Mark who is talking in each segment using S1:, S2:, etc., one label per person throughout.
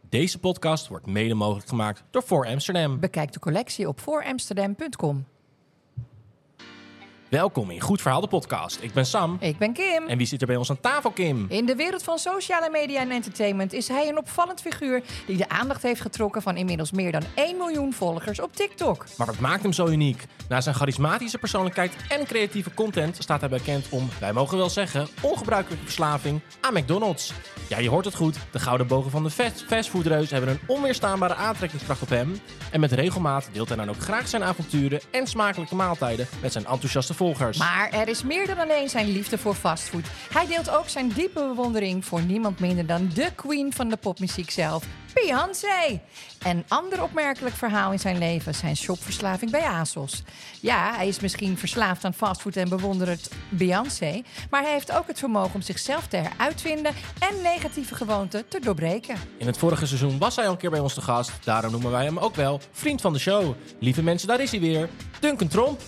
S1: Deze podcast wordt mede mogelijk gemaakt door Voor Amsterdam.
S2: Bekijk de collectie op vooramsterdam.com.
S1: Welkom in Goed Verhaal de podcast. Ik ben Sam.
S2: Ik ben Kim.
S1: En wie zit er bij ons aan tafel, Kim?
S2: In de wereld van sociale media en entertainment is hij een opvallend figuur die de aandacht heeft getrokken van inmiddels meer dan 1 miljoen volgers op TikTok.
S1: Maar wat maakt hem zo uniek? Na zijn charismatische persoonlijkheid en creatieve content staat hij bekend om, wij mogen wel zeggen, ongebruikelijke verslaving aan McDonald's. Ja, je hoort het goed. De gouden bogen van de fast- fastfoodreus hebben een onweerstaanbare aantrekkingskracht op hem. En met regelmaat deelt hij dan ook graag zijn avonturen en smakelijke maaltijden met zijn enthousiaste volgers.
S2: Maar er is meer dan alleen zijn liefde voor fastfood. Hij deelt ook zijn diepe bewondering voor niemand minder dan de queen van de popmuziek zelf, Beyoncé. Een ander opmerkelijk verhaal in zijn leven, zijn shopverslaving bij ASOS. Ja, hij is misschien verslaafd aan fastfood en bewondert Beyoncé, maar hij heeft ook het vermogen om zichzelf te heruitvinden en negatieve gewoonten te doorbreken.
S1: In het vorige seizoen was hij al een keer bij ons te gast. Daarom noemen wij hem ook wel vriend van de show. Lieve mensen, daar is hij weer. Duncan Tromp.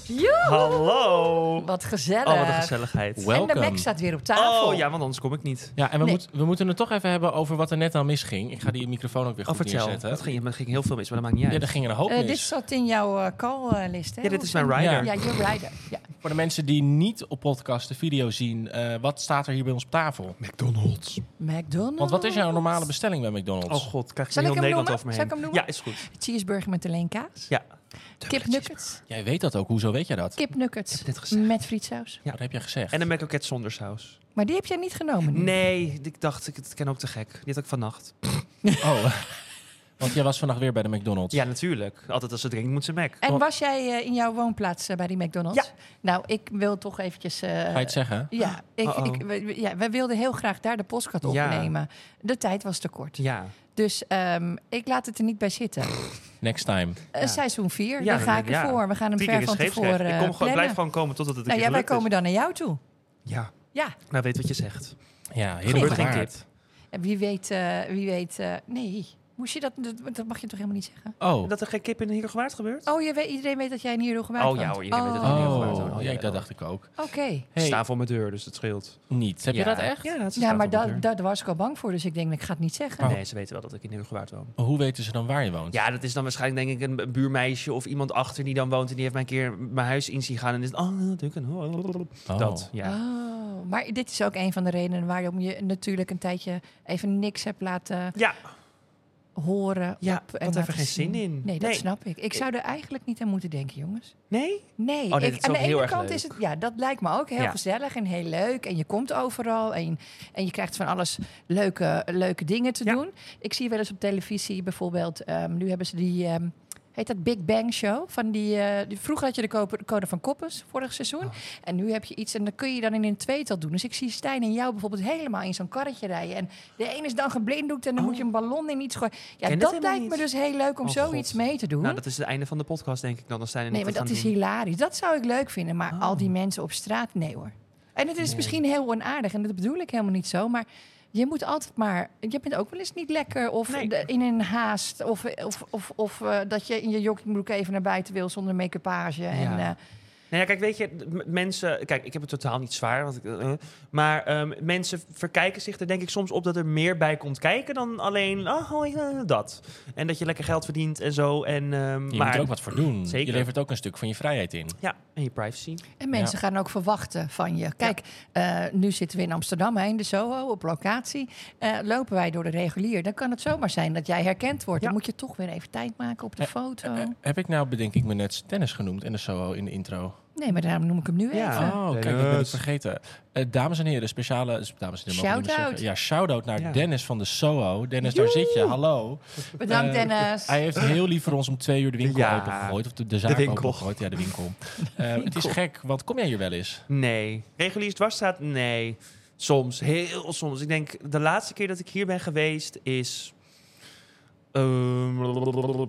S3: Hallo!
S2: Wat gezellig.
S3: Oh, wat een gezelligheid.
S2: en de
S1: Welkom.
S2: Mac staat weer op tafel.
S3: Oh ja, want anders kom ik niet.
S1: Ja, en we,
S2: Nee.
S1: moet- we moeten het toch even hebben over wat er net aan misging. Ik ga die microfoon ook weer
S3: Oh,
S1: goed
S3: vertel.
S1: neerzetten.
S3: Dat ging, dat ging heel veel mis, maar dat maakt niet
S1: Ja,
S3: uit.
S1: er ging er een hoop
S2: Eh,
S1: mis.
S2: dit zat in jouw eh, call callist, hè?
S3: Ja, dit is mijn
S2: Hoe-
S3: rider.
S2: Ja, je rider. Ja.
S1: Voor de mensen die niet op podcast de video zien, eh, wat staat er hier bij ons op tafel?
S3: McDonald's.
S2: McDonald's.
S1: Want wat is jouw normale bestelling bij McDonald's?
S3: Oh god, krijg je
S2: Zal ik
S3: heel
S2: hem
S3: Nederland
S2: noemen?
S3: over me
S2: Zal
S3: heen.
S2: ik hem noemen?
S3: Ja, is goed.
S2: Cheeseburger met alleen kaas.
S3: Ja.
S2: Kipnuggets.
S1: Jij weet dat ook. Hoezo weet jij dat?
S2: Kipnuggets.
S3: heb net gezegd.
S2: Met frietsaus.
S1: Wat heb jij gezegd?
S3: En een McRocket zonder saus.
S2: Maar die heb jij niet genomen nu.
S3: Nee, ik dacht, ik het ken ook te gek. Dit had ik vannacht.
S1: Oh, want jij was vannacht weer bij de McDonald's.
S3: Ja, natuurlijk. Altijd als ze drinkt moet ze Mac.
S2: En was jij eh, in jouw woonplaats eh, bij die McDonald's?
S3: Oh. Ja.
S2: Nou, ik wil toch eventjes... eh,
S1: Ga je het zeggen?
S2: ja, ik,
S3: Uh-oh.
S2: ik, we, we- ja, wij wilden heel graag daar de postkat
S3: Ja.
S2: opnemen. De tijd was te kort.
S3: Ja.
S2: Dus ehm, ik laat het er niet bij zitten.
S1: Next time.
S2: Eh,
S3: Ja.
S2: Seizoen 4,
S3: Ja,
S2: daar ga ik
S3: dan- ja.
S2: ervoor. We gaan hem
S3: Drie keer
S2: ver
S3: is
S2: van
S3: scheepsrecht.
S2: tevoren
S3: Ik
S2: eh,
S3: kom gewoon,
S2: plannen.
S3: blijf gewoon komen totdat het een
S2: Nou,
S3: keer
S2: ja, wij
S3: gelukt
S2: komen
S3: is.
S2: dan naar jou toe.
S3: Ja.
S2: Ja,
S3: Nou, weet wat je zegt.
S1: Ja, heel
S3: Gelukkig een
S1: waard.
S3: tip.
S2: en wie weet, eh, wie weet eh, nee, moest je dat, dat, dat mag je toch helemaal niet zeggen?
S1: Oh,
S3: Dat er geen kip in de gewaard gebeurt?
S2: Oh, je weet, iedereen weet dat jij in hier gewaard
S3: Oh ja, hoor, iedereen weet dat ik in Heerlijk Waard
S1: oh.
S3: hoor.
S1: Ja, ik- dat dacht ik ook.
S2: Oké.
S1: Hey,
S3: Sta voor mijn deur, dus dat scheelt.
S1: niet. Heb je
S3: Ja.
S1: dat echt?
S3: Ja, het is
S2: Ja, maar
S3: dat.
S2: daar daar was ik al bang voor, dus ik denk, ik ga het niet
S1: Oh.
S2: zeggen.
S3: Nee, ze weten wel dat ik in Heerlijk woon.
S1: Hoe weten ze dan waar je woont?
S3: Ja, dat is dan waarschijnlijk denk ik een bu- buurmeisje of iemand achter die dan woont en die heeft mij een keer mijn huis in zien gaan en is het, oh, Duncan, oh, oh, oh.
S1: Oh.
S3: dat. Ja.
S2: Oh, maar dit is ook een van de redenen waarom je natuurlijk een tijdje even niks hebt laten
S3: Ja,
S2: horen.
S3: ja,
S2: op en
S3: had
S2: laten
S3: even geen
S2: zien.
S3: zin in.
S2: Nee, dat snap ik. Ik zou er eigenlijk niet aan moeten denken, jongens.
S3: Nee?
S2: Nee,
S3: Oh, nee,
S2: ik,
S3: dat is
S2: aan de
S3: ook heel
S2: ene
S3: erg
S2: kant
S3: leuk.
S2: is het, ja, dat lijkt me ook heel
S3: Ja.
S2: gezellig en heel leuk. En je komt overal en, en je krijgt van alles leuke, leuke dingen te
S3: Ja.
S2: doen. Ik zie wel eens op televisie bijvoorbeeld, ehm, nu hebben ze die, ehm, heet dat Big Bang Show? Van die, eh, die- vroeger had je de ko- code van Koppers vorig seizoen.
S3: Oh.
S2: En nu heb je iets en dan kun je dan in een tweetal doen. Dus ik zie Stijn en jou bijvoorbeeld helemaal in zo'n karretje rijden. En de een is dan geblinddoekt en dan moet je een ballon in iets gooien. Ja,
S3: Oh. Ken dat
S2: dat
S3: helemaal
S2: lijkt me
S3: niet.
S2: dus heel leuk om
S3: Oh,
S2: zoiets
S3: God.
S2: mee te doen.
S3: Nou, dat is het einde van de podcast denk ik dan. Dan zijn er
S2: Nee, maar
S3: niet
S2: dat is
S3: hier.
S2: hilarisch. Dat zou ik leuk vinden. Maar al die mensen op straat, nee hoor. En het is
S3: Nee.
S2: misschien heel onaardig. En dat bedoel ik helemaal niet zo. Maar je moet altijd maar... Je bent ook wel eens niet lekker. Of
S3: Nee.
S2: de- in een haast. Of, of, of, of eh, dat je in je joggingbroek even naar buiten wil zonder make-upage. En, eh,
S3: Nou ja, kijk, weet je, m- mensen... Kijk, ik heb het totaal niet zwaar, want ik, eh, maar ehm, mensen verkijken zich er denk ik soms op dat er meer bij komt kijken dan alleen oh, hoi, eh, dat. En dat je lekker geld verdient en zo. En, ehm,
S1: Je
S3: maar,
S1: moet er ook wat voor doen.
S3: Zeker.
S1: Je levert ook een stuk van je vrijheid in.
S3: Ja, en je privacy.
S2: en mensen gaan ook verwachten van je. Kijk, eh, nu zitten we in Amsterdam, hè, in de Soho, op locatie. Eh, lopen wij door de regulier. Dan kan het zomaar zijn dat jij herkend wordt.
S3: Ja.
S2: Dan moet je toch weer even tijd maken op de
S1: Eh,
S2: foto.
S1: Eh, heb ik nou, bedenk ik me net, tennis genoemd en de Soho in de intro?
S2: Nee, maar daarom noem ik hem nu
S3: Ja.
S2: even.
S1: Oh, kijk, ik ben het
S3: Dennis.
S1: vergeten. Eh, dames en heren, speciale... dus Dames en heren, mogen we niet meer
S2: Shout-out.
S1: zeggen. Ja, shout-out naar
S3: Ja.
S1: Dennis van de Soho. Dennis, daar zit je, hallo. Eh,
S2: Bedankt, Dennis.
S1: Hij heeft heel lief voor ons om twee uur de winkel
S3: Ja.
S1: open opengegooid. Of de, de zaak
S3: winkel.
S1: opengegooid. Ja, de winkel. Eh, het is gek, want kom jij hier wel eens?
S3: Nee. Regulier dwarsstraat? Nee. Soms, heel soms. Ik denk, de laatste keer dat ik hier ben geweest is... ehm,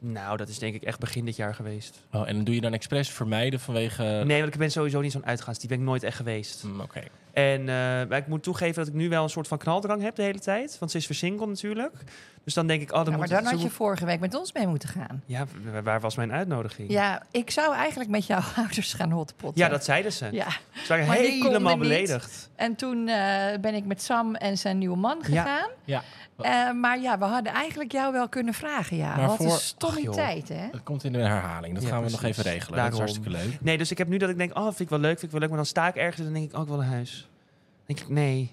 S3: nou, dat is denk ik echt begin dit jaar geweest.
S1: Oh, en dan doe je dan expres vermijden vanwege...
S3: Nee, want ik ben sowieso niet zo'n uitgaans. Die ben ik nooit echt geweest.
S1: Hm, Oké.
S3: En eh, maar ik moet toegeven dat ik nu wel een soort van knaldrang heb de hele tijd. Want ze is versingeld natuurlijk. Dus dan denk ik, oh, dan
S2: Ja, maar
S3: moet
S2: dan
S3: het- ze
S2: had je
S3: moet-
S2: vorige week met ons mee moeten gaan.
S3: Ja, w- waar was mijn uitnodiging?
S2: Ja, ik zou eigenlijk met jouw ouders gaan hotpotten.
S3: Ja, dat zeiden ze.
S2: Ja.
S3: Ze waren
S2: Maar die
S3: helemaal
S2: konden niet.
S3: beledigd.
S2: En toen eh, ben ik met Sam en zijn nieuwe man gegaan.
S1: Ja.
S2: Eh, maar ja, we hadden eigenlijk jou wel kunnen vragen, ja.
S1: Maar
S2: Wat een
S1: voor-
S2: stomme
S1: Ach, joh.
S2: tijd, hè?
S1: Dat komt in de herhaling. Dat
S3: Ja,
S1: gaan we nog
S3: precies.
S1: even regelen.
S3: Daarom.
S1: Dat is hartstikke leuk.
S3: Nee, dus ik heb nu dat ik denk, oh, vind ik wel leuk, vind ik wel leuk. Maar dan sta ik ergens en dan denk ik, ook wel naar huis. Dan denk ik, nee.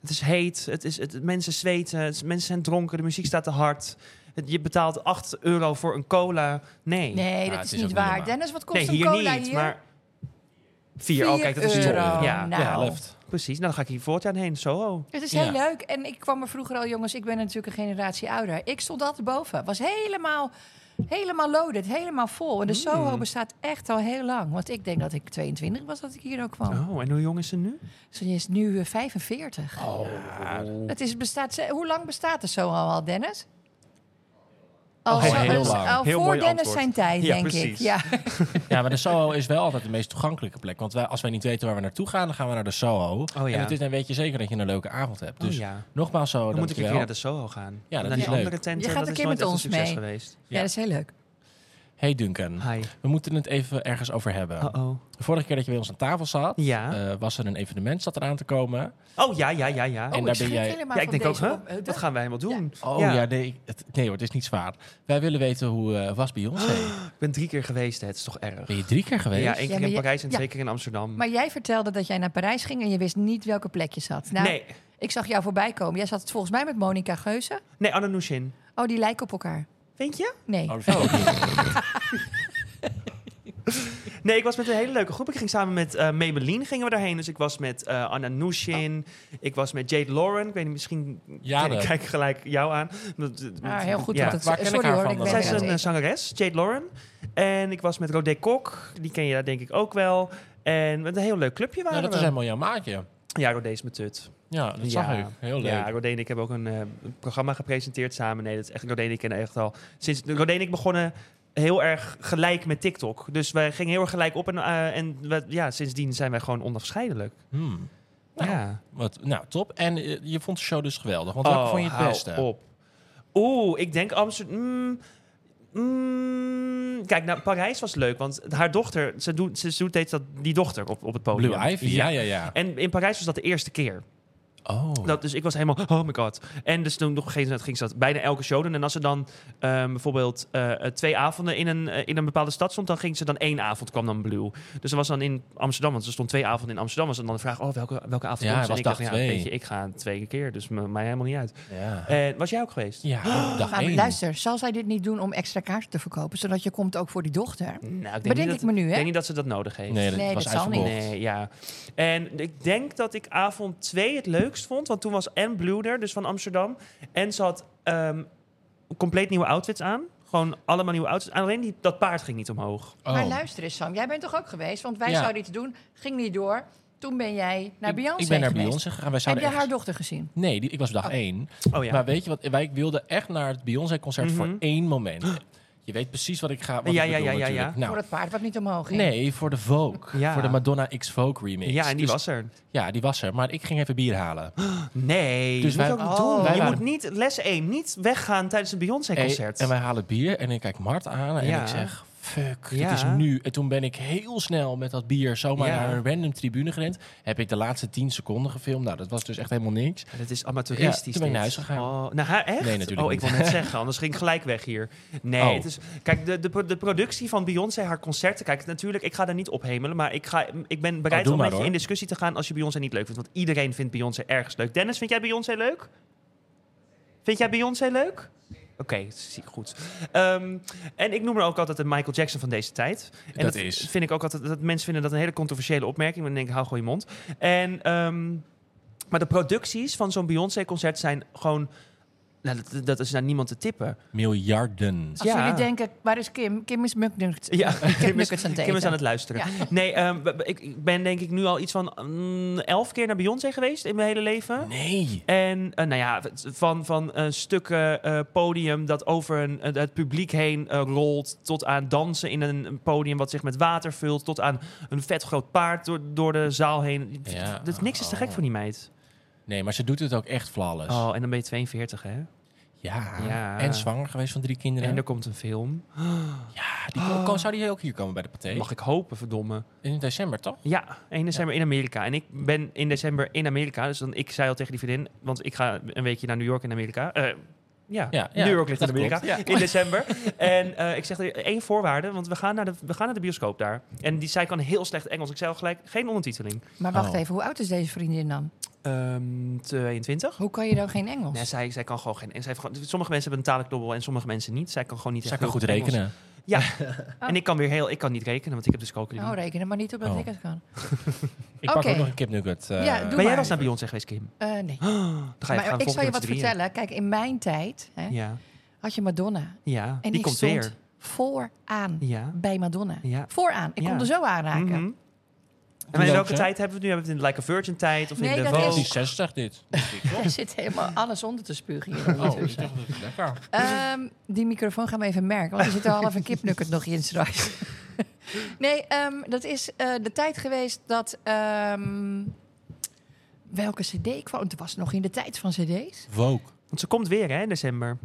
S3: Het is heet, het is, het, mensen zweten, het is- mensen zijn dronken, de muziek staat te hard. Het- je betaalt 8 euro voor een cola. Nee.
S2: Nee,
S1: Ja,
S2: dat
S1: het is
S2: is niet
S1: ook niet
S2: waar.
S1: normaal.
S2: Dennis, wat kost
S3: Nee,
S2: een
S3: hier
S2: cola
S3: niet,
S2: hier?
S3: maar... 4, oh kijk, dat is
S1: Vier
S3: iets
S2: euro.
S1: euro.
S3: Ja,
S2: Nou,
S1: Ja, left.
S3: precies. Nou, dan ga ik hier voortaan heen, Soho.
S2: Het is
S1: Ja.
S2: heel leuk. En ik kwam er vroeger al, jongens, ik ben natuurlijk een generatie ouder. Ik stond altijd boven. Was helemaal, helemaal loaded, helemaal vol. En
S3: Mm.
S2: de Soho bestaat echt al heel lang. Want ik denk dat ik 22 was dat ik hier ook kwam.
S3: Oh, en hoe jong is ze nu?
S2: Ze is nu eh, 45.
S3: Oh.
S1: Ja,
S2: Het is, bestaat, ze- hoe lang bestaat de Soho al, Dennis? Al,
S1: Oh, heel lang.
S2: al
S3: Heel
S2: voor
S3: mooi
S2: Dennis
S3: antwoord.
S2: zijn tijd,
S3: Ja,
S2: denk ik.
S3: precies.
S2: Ja.
S1: Ja, maar de Soho is wel altijd de meest toegankelijke plek. Want wij, als wij niet weten waar we naartoe gaan, dan gaan we naar de Soho.
S3: ja.
S1: En het is, dan weet je zeker dat je een leuke avond hebt. Dus
S3: oh ja.
S1: nogmaals, Soho,
S3: Dan moet ik een
S1: dankjewel.
S3: keer naar de Soho gaan.
S1: Ja, dat
S3: naar
S1: is
S3: die
S1: leuk.
S3: andere tenten,
S2: Je gaat
S3: dat
S2: een
S3: is
S2: keer
S3: nooit
S2: met
S3: echt
S2: ons
S3: een succes
S2: mee.
S3: geweest.
S2: ja, dat is heel leuk. Oh,
S1: Hey Duncan,
S3: Hi.
S1: we moeten het even ergens over hebben.
S3: Uh-oh.
S1: De vorige keer dat je bij ons aan tafel zat,
S3: Ja.
S1: eh, was er een evenement zat eraan te komen.
S3: Oh, ja, ja, ja, ja.
S1: En
S2: oh,
S1: daar
S2: ik
S1: ben
S2: schrik
S1: jij-
S2: helemaal
S3: Ja, ik
S2: van
S3: denk ook,
S2: deze
S3: hè?
S2: op- eh, dat-
S3: Wat gaan wij helemaal doen?
S1: Oh ja,
S3: Ja.
S1: nee, ik- het, nee hoor, het is niet zwaar. Wij willen weten hoe eh, was Beyoncé.
S3: Ik ben drie keer geweest, hè. het is toch erg?
S1: Ben je drie keer geweest?
S3: Ja, één keer
S2: maar
S3: in
S2: je-
S3: Parijs en
S2: ja.
S3: twee keer in Amsterdam.
S2: Maar jij vertelde dat jij naar Parijs ging en je wist niet welke plek je zat. Nou,
S3: nee,
S2: ik zag jou voorbij komen. Jij zat volgens mij met Monica Geuze.
S3: nee, Anna Nushin.
S2: Oh, die lijken op elkaar.
S3: Vind je?
S2: Nee.
S1: Oh, dat vind ik ook niet.
S3: Nee, ik was met een hele leuke groep. Ik ging samen met eh Maybelline gingen we daarheen. Dus ik was met eh Anna Nushin.
S2: Oh.
S3: Ik was met Jade Lauren. Ik weet niet, misschien
S1: Ja,
S3: ik
S1: dat-
S3: kijk ik gelijk jou aan. Dat-
S2: Ah, heel goed.
S3: Ja.
S2: want het,
S1: Waar ken ik
S2: sorry
S1: haar
S2: hoor,
S1: van
S2: ik
S1: dan?
S2: ben
S3: Zij
S1: Zij is
S3: is
S2: er
S3: een
S2: aan
S3: eh,
S2: het
S3: zangeres, Jade Lauren. En ik was met Rodé Kok. Die ken je daar denk ik ook wel. En met een heel leuk clubje waren
S1: Nou, dat
S3: we.
S1: is helemaal jouw maatje.
S3: Ja, Rodé is mijn tut.
S1: Ja, Oh, dat
S3: Ja.
S1: zag ik. Heel leuk.
S3: Ja, Rodé en ik hebben ook een eh, een programma gepresenteerd samen. Nee, dat is echt Rodé en ik kennen echt al. Sinds Rodé en ik begonnen heel erg gelijk met TikTok. Dus wij gingen heel erg gelijk op. En, eh, en we- ja, sindsdien zijn wij gewoon onafscheidelijk.
S1: Hmm. Nou,
S3: ja.
S1: Wat, nou, top. En eh, je vond de show dus geweldig. Want welke
S3: Oh,
S1: vond je het
S3: hou
S1: beste?
S3: Op. Oeh, ik denk Amsterdam. mm, mm. kijk, nou, Parijs was leuk. Want haar dochter, ze doet, ze doet steeds dat, die dochter op, op het podium.
S1: Blue Ivy? Ja, ja, ja.
S3: En in Parijs was dat de eerste keer.
S1: Oh.
S3: Dat, dus ik was helemaal, oh my god. En dus toen nog een gegeven moment ging ze dat bijna elke show doen. En als ze dan ehm, bijvoorbeeld eh, eh, twee avonden in een, eh, in een bepaalde stad stond, dan ging ze dan één avond, kwam dan Blue. Dus dat was dan in Amsterdam, want ze stond twee avonden in Amsterdam. Was dan de vraag, oh, welke, welke avond
S1: Ja,
S3: komt
S1: was
S3: ze? En ik
S1: dag
S3: dacht, nou ja,
S1: twee.
S3: weet je, ik ga twee keer, dus me- mij helemaal niet uit.
S1: ja.
S3: En was jij ook geweest?
S1: ja, dag
S2: Maar
S1: één.
S2: luister, zal zij dit niet doen om extra kaarten te verkopen? Zodat je komt ook voor die dochter?
S3: Nou, ik denk,
S2: Bedenk
S3: niet
S2: ik
S3: dat,
S2: me nu,
S3: ik
S2: hè?
S3: denk niet dat ze dat nodig heeft.
S1: Nee, dat
S2: Nee,
S1: was
S2: dat zal niet.
S1: uitverkocht.
S3: Nee, ja. En ik denk dat ik avond 2 het leukst vond. Want toen was en Blue er, dus van Amsterdam. En ze had ehm, compleet nieuwe outfits aan. Gewoon allemaal nieuwe outfits. aan. Alleen die, dat paard ging niet omhoog.
S1: Oh.
S2: Maar luister eens, Sam. Jij bent toch ook geweest? Want wij
S1: Ja.
S2: zouden iets doen, ging niet door. Toen ben jij naar
S1: Ik-
S2: Beyoncé
S1: Ik ben naar
S2: geweest.
S1: Beyoncé gegaan. Wij
S2: Heb
S1: zouden
S2: je haar
S1: ergens-
S2: dochter gezien?
S1: Nee, die, ik was op dag
S2: Oh.
S1: één.
S3: Oh ja.
S1: Maar weet je wat? Wij wilden echt naar het Beyoncé-concert voor
S3: Mhm.
S1: één moment. Je weet precies wat ik ga wat
S3: Ja,
S1: ik
S3: ja,
S1: bedoel,
S3: ja, ja, ja.
S1: natuurlijk. Nou,
S2: Voor het paard wat niet omhoog ging.
S1: nee, voor de Vogue.
S3: Ja.
S1: Voor de Madonna X Vogue remix.
S3: ja, en die
S1: Dus-
S3: was er.
S1: Ja, die was er. Maar ik ging even bier halen.
S3: Nee,
S1: Dus
S3: dus je
S1: wij-
S3: moet ook niet
S2: Oh.
S3: doen.
S1: Wij
S3: je
S1: waren-
S3: moet niet, les 1, niet weggaan tijdens een Beyoncé-concert.
S1: En, en wij halen bier en ik kijk Mart aan en
S3: Ja.
S1: ik zeg... Fuck,
S3: Ja.
S1: het is nu. En toen ben ik heel snel met dat bier zomaar
S3: Ja.
S1: naar een random tribune gerend. Heb ik de laatste 10 seconden gefilmd. Nou, dat was dus echt helemaal niks.
S3: Het is amateuristisch.
S1: Ja, toen ben ik naar
S3: dit.
S1: huis gegaan.
S3: Oh, naar haar, echt?
S1: Nee, natuurlijk
S3: Oh, ik
S1: niet.
S3: wil net zeggen, anders ging ik gelijk weg hier. Nee,
S1: Oh.
S3: het is, kijk, de, de, pro- de productie van Beyoncé, haar concerten. Kijk, natuurlijk, ik ga daar niet ophemelen. Maar ik, ga, ik ben bereid
S1: Oh, doe
S3: om
S1: maar,
S3: met je
S1: hoor.
S3: in discussie te gaan als je Beyoncé niet leuk vindt. Want iedereen vindt Beyoncé ergens leuk. Dennis, vind jij Beyoncé leuk? Vind jij Beyoncé leuk? Oké, zie ik goed. Ehm, en ik noem er ook altijd de Michael Jackson van deze tijd. En
S1: Dat is.
S3: Vind ik ook altijd dat mensen vinden dat een hele controversiële opmerking. Maar dan denk ik, hou gewoon je mond. En, ehm, maar de producties van zo'n Beyoncé-concert zijn gewoon. Nou, dat, dat is naar niemand te tippen.
S1: Miljarden.
S2: Als
S3: Ja.
S2: jullie denken, waar is Kim? Kim is muknukt.
S3: Ja,
S2: heb nuggets aan het
S3: Kim is
S2: eten.
S3: aan het luisteren.
S2: Ja.
S3: Nee, ehm, b- b- ik ik ben denk ik nu al iets van mm, elf keer naar Beyoncé geweest in mijn hele leven.
S1: Nee.
S3: En eh, nou ja, het- van, van een stukken eh, podium dat over een, het- het publiek heen eh, rolt. Tot aan dansen in een, een podium wat zich met water vult. Tot aan een vet groot paard door, door de zaal heen.
S1: Ja.
S3: Dat, niks is te gek
S1: Oh.
S3: voor die meid.
S1: Nee, maar ze doet het ook echt flawless.
S3: Oh, en dan ben je 42, hè?
S1: Ja.
S3: Ja.
S1: En zwanger geweest van drie kinderen.
S3: En er komt een film.
S1: Ja, die ko- ko- zou die ook hier komen bij de paté?
S3: Mag ik hopen, verdomme.
S1: In december, toch?
S3: Ja, 1 december in Amerika. En ik ben in december in Amerika. Dus dan, ik zei al tegen die vriendin, want ik ga een weekje naar New York in Amerika. Eh, ja,
S1: Ja, ja,
S3: New York ligt in
S1: dat
S3: Amerika.
S1: klopt, ja.
S3: In december. en eh, ik zeg er één voorwaarde, want we gaan, naar de, we gaan naar de bioscoop daar. En die zei kan heel slecht Engels. Ik zei al gelijk, geen ondertiteling.
S2: Maar wacht
S1: Oh.
S2: even, hoe oud is deze vriendin dan?
S3: Ehm 22.
S2: Hoe kan je dan geen Engels?
S3: Nee, zij, zij kan gewoon geen. En zij heeft gewoon, sommige mensen hebben een taallijk dobbel en sommige mensen niet. Zij kan gewoon niet.
S1: Zou
S3: echt
S1: ik wel goed
S3: heel Engels.
S1: rekenen?
S3: En ik kan weer heel. Ik kan niet rekenen, want ik heb dus calculie.
S2: Oh, rekenen maar niet op dat
S1: Oh.
S2: ik het kan.
S1: Ik pak
S2: Oké.
S1: ook nog een kipnugget. eh,
S2: Ja, doe
S3: maar jij
S2: maar.
S3: was naar Beyoncé geweest, Kim.
S2: Eh, nee.
S3: Dan ga je, gaan
S2: Maar
S3: we
S2: ik zal je
S3: volgende
S2: wat
S3: keer met z'n drieën.
S2: vertellen. Kijk, in mijn tijd hè,
S3: Ja,
S2: had je Madonna.
S3: ja.
S2: En
S3: die, komt
S2: stond
S3: weer.
S2: vooraan
S3: Ja.
S2: bij Madonna.
S3: Ja.
S2: Vooraan. Ik
S3: Ja.
S2: kon er zo aanraken.
S3: Mhm. En
S1: Hoe
S3: in
S1: lang,
S3: welke
S1: hè?
S3: tijd hebben we het nu? Hebben we het in de Like a Virgin tijd? Of
S2: Nee,
S3: in de
S2: dat
S1: Oh,
S2: is-
S1: het
S3: Vogue?
S1: is 60 dit.
S2: Er zit helemaal alles onder te spugen hier.
S1: Oh,
S2: ondertussen.
S1: ik dacht dat is lekker.
S2: Ehm, die microfoon gaan we even merken, want er zit al half een kipnugget nog in straks. nee, ehm, dat is eh, de tijd geweest dat... ehm, welke cd kwam? Het was nog in de tijd van cd's.
S1: Woke.
S3: Want ze komt weer, hè, in december.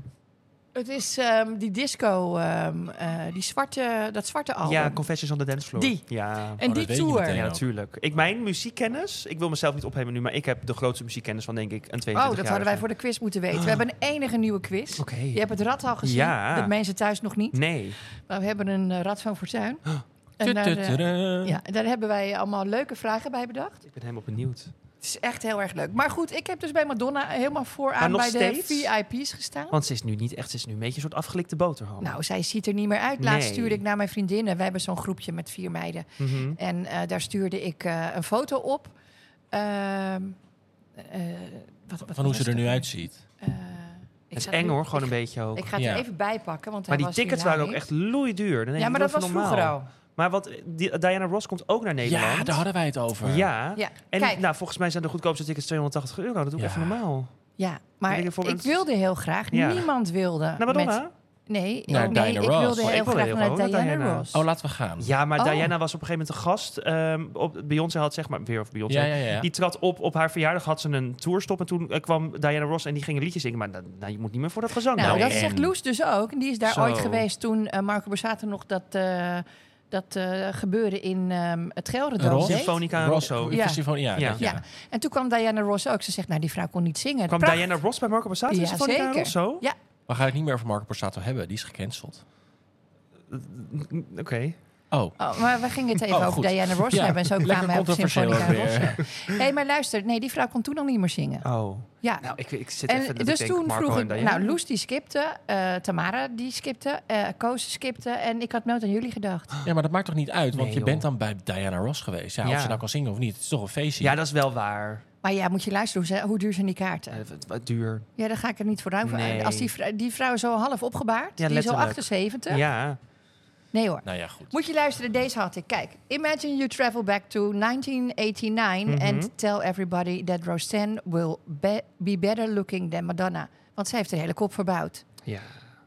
S2: Het is ehm, die disco, ehm, eh, die zwarte, dat zwarte album.
S3: Ja, Confessions on the Dance Floor.
S2: Die.
S3: Ja.
S2: en
S1: Oh, dat
S2: die
S1: weet je
S2: tour.
S1: meteen.
S3: Ja,
S1: ook.
S3: natuurlijk. Ik, mijn muziekkennis, ik wil mezelf niet ophemen nu, maar ik heb de grootste muziekkennis van, denk ik, een 22
S2: Oh, dat hadden wij voor de quiz moeten weten. We hebben een enige nieuwe quiz.
S3: Oké.
S2: Je hebt het rad al gezien,
S3: Ja.
S2: dat mensen thuis nog niet.
S3: Nee.
S2: Maar we hebben een eh, rad van fortuin. En daar, eh,
S1: Tututudu.
S2: ja, daar hebben wij allemaal leuke vragen bij bedacht.
S3: Ik ben helemaal benieuwd.
S2: Het is echt heel erg leuk. Maar goed, ik heb dus bij Madonna helemaal
S3: Maar
S2: vooraan
S3: nog
S2: bij
S3: steeds?
S2: de VIP's gestaan.
S3: Want ze is nu niet echt, ze is nu een beetje een soort afgelikte boterham.
S2: Nou, zij ziet er niet meer uit. Laatst
S3: Oh. Nee.
S2: stuurde ik naar mijn vriendinnen. Wij hebben zo'n groepje met vier meiden.
S3: Mhm.
S2: En eh, daar stuurde ik eh, een foto op. Ehm, eh, wat, wat
S1: Van hoe ze
S2: was
S1: er
S2: het?
S1: nu uitziet.
S2: Eh, ik
S3: Het is
S2: zat nu-
S3: eng hoor, gewoon
S2: ik-
S3: een beetje ook.
S2: Ik ga het
S1: Ja.
S2: er even bij pakken, want hij
S3: maar die
S2: was hier
S3: tickets waren ook
S2: laat
S3: echt loeiduur. Dan
S2: niet.
S3: denk
S2: Ja,
S3: ik,
S2: maar dat was
S3: doe even
S2: vroeger
S3: normaal.
S2: al.
S3: Maar wat, die- Diana Ross komt ook naar Nederland.
S1: Ja, daar hadden wij het over.
S3: Ja.
S2: Ja,
S3: En
S2: kijk.
S3: nou, volgens mij zijn de goedkoopste tickets 280 euro. Dat doe
S1: Ja.
S3: ik even normaal.
S2: Ja,
S3: Ik
S2: maar
S3: denk bijvoorbeeld-
S2: ik wilde heel graag.
S3: Ja.
S2: Niemand wilde.
S3: Nou, Madonna?
S2: met- Nee,
S1: Naar
S2: nee,
S1: Diana
S2: ik
S1: Ross.
S2: wilde
S1: Oh,
S2: heel
S3: ik wilde
S2: graag
S3: heel
S2: naar
S3: graag naar
S2: Diana,
S3: Diana.
S2: Ross.
S1: Oh, laten we gaan.
S3: Ja, maar
S2: Oh.
S3: Diana was op een gegeven moment een gast. ehm, op, Beyoncé had zeg maar, weer over Beyoncé.
S1: Ja, ja, ja.
S3: Die trad op, op haar verjaardag had ze een tourstop. En toen eh, kwam Diana Ross en die ging een liedje zingen. Maar dan- nou, je moet niet meer voor dat gezang.
S2: Nou,
S1: Nou,
S2: dat
S1: en-
S2: zegt Loes dus ook. En die is daar
S3: Zo.
S2: ooit geweest toen eh, Marco Borsato nog dat, eh dat eh, gebeuren in ehm, het Gelderdoom
S1: Ross?
S2: deed.
S3: Symfonica en
S1: Ross,
S3: Rosso.
S1: ik
S2: Ja.
S1: was hier van- ja,
S3: Ja.
S1: dat,
S2: Ja.
S1: ja.
S2: En toen kwam Diana Ross ook. Ze zegt, nou, die vrouw kon niet zingen.
S3: Kwam
S2: Prachtig.
S3: Diana Ross bij Marco Borsato?
S2: Ja,
S3: Ja, Symfonica en
S2: zeker.
S3: Rosso?
S2: Ja.
S1: We gaan het niet meer over Marco Borsato hebben. Die is gecanceld.
S3: Eh, Oké.
S1: Oh,
S2: Oh, maar we gingen het even
S1: Oh,
S2: over
S1: goed.
S2: Diana Ross
S1: Ja,
S2: hebben. En zo kwamen we op
S1: controversieel
S2: Symfonica
S1: ook weer.
S2: Rosso. Nee, maar luister. Nee, die vrouw kon toen al niet meer zingen.
S3: Oh.
S2: Ja.
S3: Nou, ik, ik zit even...
S2: En
S3: dat ik
S2: dus
S3: denk,
S2: toen
S3: Marco
S2: vroeg
S3: en
S2: ik,
S3: Diana.
S2: nou, Loes die skipte, eh, Tamara die skipte, eh Koos skipte en ik had nooit aan jullie gedacht.
S1: ja, maar dat maakt toch niet uit? Want
S3: Nee,
S1: je
S3: joh.
S1: bent dan bij Diana Ross geweest. Ja,
S3: Ja.
S1: Of ze nou kan zingen of niet. Het is toch een feestje.
S3: Ja, dat is wel waar.
S2: Maar ja, moet je luisteren, hoe, ze- hoe duur zijn die kaarten?
S3: Eh, wat- wat duur.
S2: Ja, daar ga ik er niet voor ruim voor.
S3: Nee.
S2: Als die vrouw, die vrouw is zo half opgebaard,
S3: Ja,
S2: die is al
S3: letterlijk.
S2: 78.
S3: Ja.
S2: Nee hoor.
S1: Nou ja, goed.
S2: Moet je luisteren, deze had ik. Kijk, imagine you travel back to 1989
S3: Mhm.
S2: and tell everybody that Roseanne will be, be better looking than Madonna. Want zij heeft de hele kop verbouwd.
S3: Ja.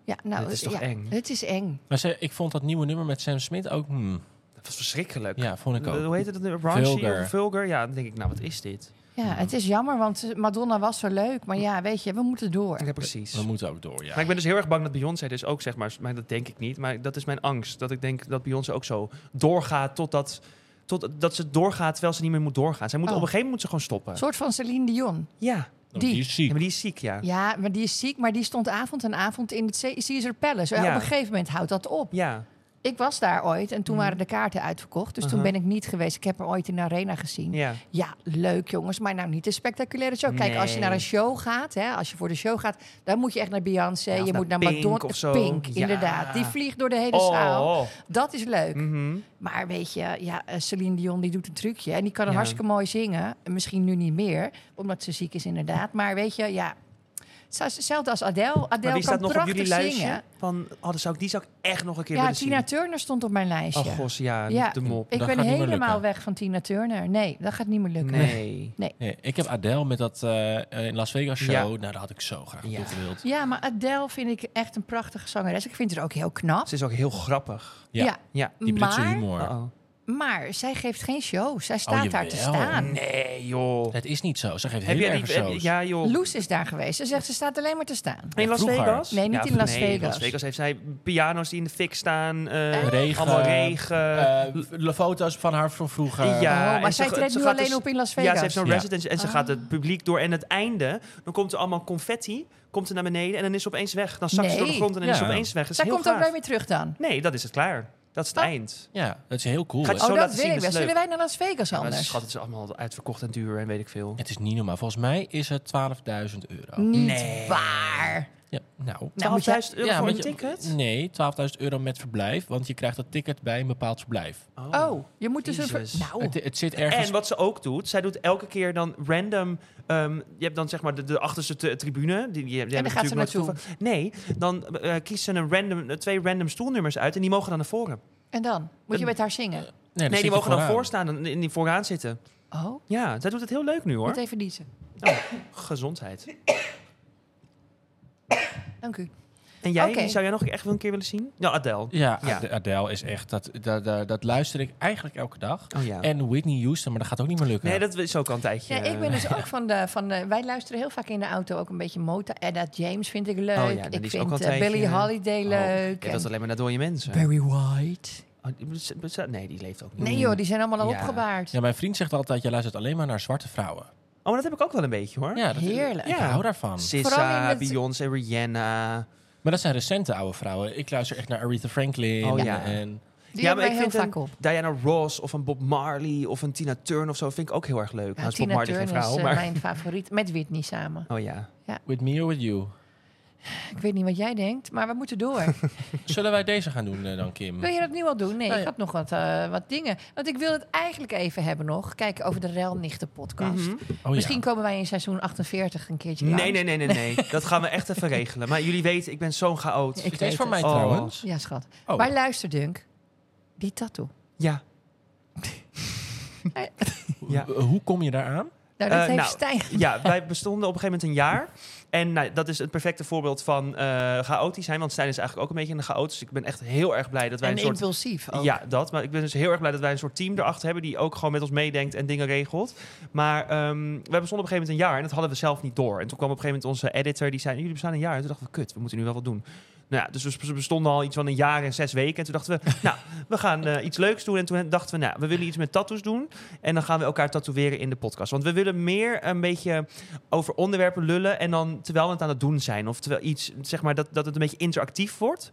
S2: Ja, nou,
S3: Dit is toch
S2: ja,
S3: eng?
S2: Het is eng.
S1: Maar ze, ik vond dat nieuwe nummer met Sam Smith ook... hmm,
S3: Dat was verschrikkelijk.
S1: ja, vond ik ook.
S3: Hoe heet het? Raunchy
S1: Vulgar.
S3: of vulgar? Ja, dan denk ik, nou, wat is dit?
S2: Ja, het is jammer, want Madonna was zo leuk. Maar ja, weet je, we moeten door.
S3: Ja, precies.
S1: We moeten ook door, ja.
S3: Maar ik ben dus heel erg bang dat Beyoncé dus ook, zeg maar, maar dat denk ik niet, maar dat is mijn angst. Dat ik denk dat Beyoncé ook zo doorgaat totdat, tot, dat ze doorgaat terwijl ze niet meer moet doorgaan. Zij moet,
S2: Oh.
S3: Op een gegeven moment moet ze gewoon
S2: Een
S3: stoppen.
S2: soort van Celine Dion.
S3: Ja.
S1: Oh,
S2: die-
S1: is
S3: ja,
S1: ziek.
S3: maar die is ziek, ja. Ja.
S2: Ja, maar die is ziek, maar die stond avond en avond in het Ce- Caesar Palace. Ja,
S3: Ja.
S2: Op een gegeven moment houdt dat op. Ik was daar ooit en toen
S3: Mhm.
S2: waren de kaarten uitverkocht. Dus toen
S3: Aha.
S2: ben ik niet geweest. Ik heb er ooit in de arena gezien. Ja,
S3: ja.
S2: leuk jongens, maar nou niet een spectaculaire show. Kijk, als je
S3: Nee.
S2: naar een show gaat, hè, als je voor de show gaat... dan moet je echt naar Beyoncé,
S3: Ja, of
S2: je
S3: naar
S2: moet naar
S3: Pink
S2: Madonna.
S3: of zo.
S2: Pink,
S3: Ja.
S2: inderdaad. Die vliegt door de hele zaal.
S3: Oh.
S2: Dat is leuk.
S3: Mhm.
S2: Maar weet je, ja, eh, Celine Dion die doet een trucje. En die kan
S3: Ja.
S2: hartstikke mooi zingen. En Misschien nu niet meer, omdat ze ziek is inderdaad. Maar weet je, ja... het is Hetzelfde als Adele. Adele
S3: Maar wie staat
S2: kan
S3: nog op
S2: prachtig
S3: jullie
S2: zingen.
S3: lijstje? Van, oh, dat zou ik, die zou ik echt nog een keer
S2: Ja,
S3: willen
S2: Tina
S3: zien.
S2: Turner stond op mijn lijstje.
S3: Oh, gos, ja,
S2: Ja.
S3: de mop.
S2: ik
S1: Dat
S2: ben
S1: gaat niet meer
S2: helemaal
S1: lukken.
S2: weg van Tina Turner. Nee, dat gaat niet meer lukken.
S3: Nee.
S1: Nee, ik heb Adele met dat eh, eh, Las Vegas show.
S3: Ja.
S1: Nou, dat had ik zo graag
S3: Ja.
S1: ja. gewild.
S2: Ja, maar Adele vind ik echt een prachtige zangeres. Ik vind haar ook heel knap.
S3: Ze is ook heel grappig.
S1: Ja,
S2: Ja,
S3: Ja.
S1: Die Britse
S2: maar
S1: humor.
S3: Uh-oh.
S2: Maar zij geeft geen show.
S3: Oh,
S2: Zij staat daar te
S1: jawel.
S2: staan.
S3: Nee, joh.
S1: Het is niet zo. Ze geeft
S3: Heb
S1: heel
S3: jij
S1: erg
S3: die...
S1: shows.
S3: ja, joh.
S2: Loes is daar geweest. Ze zegt, ze staat alleen maar te staan.
S3: in Las
S1: vroeger.
S3: Vegas?
S2: Nee, niet in Las
S3: In Las
S2: Vegas.
S3: Vegas heeft zij piano's die in de fik staan. eh,
S1: Regen.
S3: Allemaal regen.
S1: Eh, de foto's van haar van vroeger.
S3: Ja,
S2: oh, maar
S3: en
S2: zij
S3: ze-
S2: treedt
S3: ze
S2: nu
S3: gaat
S2: alleen
S3: dus-
S2: op in Las Vegas.
S3: Ja, ze heeft zo'n
S1: Ja.
S3: residence en ze
S2: Ah.
S3: gaat het publiek door. En het einde, dan komt er allemaal confetti, komt er naar beneden en dan is ze opeens weg. Dan zakt ze
S2: Nee.
S3: door de grond en dan
S1: Ja.
S3: is ze opeens weg. Dat is
S2: Zij
S3: heel
S2: komt ook
S3: gaaf.
S2: nooit meer terug dan.
S3: Nee, dat is het klaar. Dat is het
S2: Oh.
S3: eind.
S1: Ja, dat is heel cool.
S3: Gaat
S1: hè?
S3: Zo
S2: Oh, dat
S3: laten
S2: wil
S3: zien
S2: ik
S3: is
S2: wel.
S3: leuk.
S2: Zullen wij naar Las Vegas
S3: Maar
S2: anders?
S3: schat, het is allemaal uitverkocht en duur en weet ik veel.
S1: Het is niet normaal. Volgens mij is het 12.000 euro. Mm.
S2: Niet
S3: Nee.
S2: waar.
S1: Ja, nou.
S2: Nou, moet
S3: 12.000
S2: jij-
S3: euro
S1: ja,
S3: voor
S1: want
S3: een
S1: je-
S3: ticket?
S1: Nee, 12.000 euro met verblijf. Want je krijgt dat ticket bij een bepaald verblijf.
S2: Oh, je moet dus een...
S3: Jezus.
S2: ver- Nou,
S1: Het, het zit ergens...
S3: Oh. En wat ze ook doet, zij doet elke keer dan random. ehm, je hebt dan zeg maar de, de achterste t- tribune. Die, die, die hebben
S2: daar gaat ze
S3: natuurlijk nooit
S2: naartoe.
S3: toeval- Nee, dan eh, kiest ze een random, twee random stoelnummers uit en die mogen dan naar voren.
S2: en dan? Moet je met haar zingen?
S1: dan
S3: Nee,
S1: zit
S3: die
S1: je
S3: mogen dan
S1: vooraan.
S3: voorstaan en in die vooraan zitten.
S2: Oh,
S3: Ja, zij doet het heel leuk nu Eh, hoor.
S2: moet even niezen.
S3: Oh, gezondheid.
S2: Dank u.
S3: En jij,
S2: Oké.
S3: wie zou jij nog echt wel een keer willen zien? Ja, Adele.
S1: Ja,
S3: Ja.
S1: Ad- Adele is echt... Dat, dat, dat, dat luister ik eigenlijk elke dag.
S3: Oh ja.
S1: En Whitney Houston, maar dat gaat ook niet meer lukken.
S3: Nee, dat is ook al een tijdje. eh.
S2: Ja, ik ben dus ook van de, van de... Wij luisteren heel vaak in de auto ook een beetje Mota. Edda James vind ik leuk.
S3: nou, die
S2: ik
S3: is ook
S2: vind
S3: al een
S2: eh, Billie
S3: tijdje.
S2: Holiday
S3: Oh,
S2: leuk.
S3: Ja, dat is alleen maar naar dode mensen.
S2: Barry White.
S3: Oh, die- bes- bes- nee, die leeft ook niet.
S2: Nee joh, die zijn allemaal al
S3: Mm. Ja.
S2: opgebaard.
S1: Ja, mijn vriend zegt altijd, je luistert alleen maar naar zwarte vrouwen.
S3: Oh, maar dat heb ik ook wel een beetje hoor.
S1: Ja, dat,
S2: Heerlijk.
S1: Ik
S3: Ja.
S1: hou daarvan.
S2: Vooral in
S3: Sissa,
S2: het-
S3: Beyoncé, Rihanna.
S1: Maar dat zijn recente oude vrouwen. Ik luister echt naar Aretha Franklin.
S3: Oh, ja.
S1: En,
S2: Die hebben wij heel vaak
S3: een
S2: op.
S3: Diana Ross of een Bob Marley of een Tina Turner of zo vind ik ook heel erg leuk.
S2: Ja,
S3: nou, is Bob
S2: Tina
S3: Marley geen
S2: Turner is
S3: vrouw,
S2: eh,
S3: maar...
S2: mijn favoriet. Met Whitney samen.
S3: Oh ja.
S1: with me or with you.
S2: Ik weet niet wat jij denkt, maar we moeten door.
S1: Zullen wij deze gaan doen eh, dan, Kim?
S2: Wil je dat nu al doen? Nee,
S1: Nou ja.
S2: ik had nog wat, eh, wat dingen. Want ik wil het eigenlijk even hebben nog. Kijken over de Relnichten podcast.
S3: Mhm.
S1: Oh,
S2: Misschien komen wij in seizoen 48 een keertje
S3: Nee,
S2: langs.
S3: nee, nee, nee, nee. dat gaan we echt even regelen. Maar jullie weten, ik ben zo'n chaot.
S2: Ik
S1: Ik Deze
S2: weet
S1: voor
S2: het.
S1: mij
S3: Oh.
S1: trouwens.
S2: Ja, schat.
S1: Oh.
S2: Maar luister, Dunk. Die tattoo.
S3: Ja. Ja.
S1: Ho- Hoe kom je daar aan?
S2: Nou, dat
S3: Eh,
S2: heeft
S3: nou,
S2: Stijn.
S3: Ja, wij bestonden op een gegeven moment een jaar. En nou, dat is het perfecte voorbeeld van eh chaotisch zijn. Want Stijn is eigenlijk ook een beetje een chaot. Dus ik ben echt heel erg blij dat wij
S2: En
S3: een soort...
S2: impulsief ook.
S3: Ja, dat. Maar ik ben dus heel erg blij dat wij een soort team erachter hebben... die ook gewoon met ons meedenkt en dingen regelt. Maar ehm we bestonden op een gegeven moment een jaar... en dat hadden we zelf niet door. En toen kwam op een gegeven moment onze editor... die zei, jullie bestaan een jaar. En toen dachten we, kut, we moeten nu wel wat doen. Nou ja, dus we sp- bestonden al iets van een jaar en zes weken. En toen dachten we, nou, we gaan eh, iets leuks doen. En toen dachten we, nou, we willen iets met tattoos doen. En dan gaan we elkaar tatoeëren in de podcast. Want we willen meer een beetje over onderwerpen lullen... en dan terwijl we het aan het doen zijn. Of terwijl iets, zeg maar, dat, dat het een beetje interactief wordt.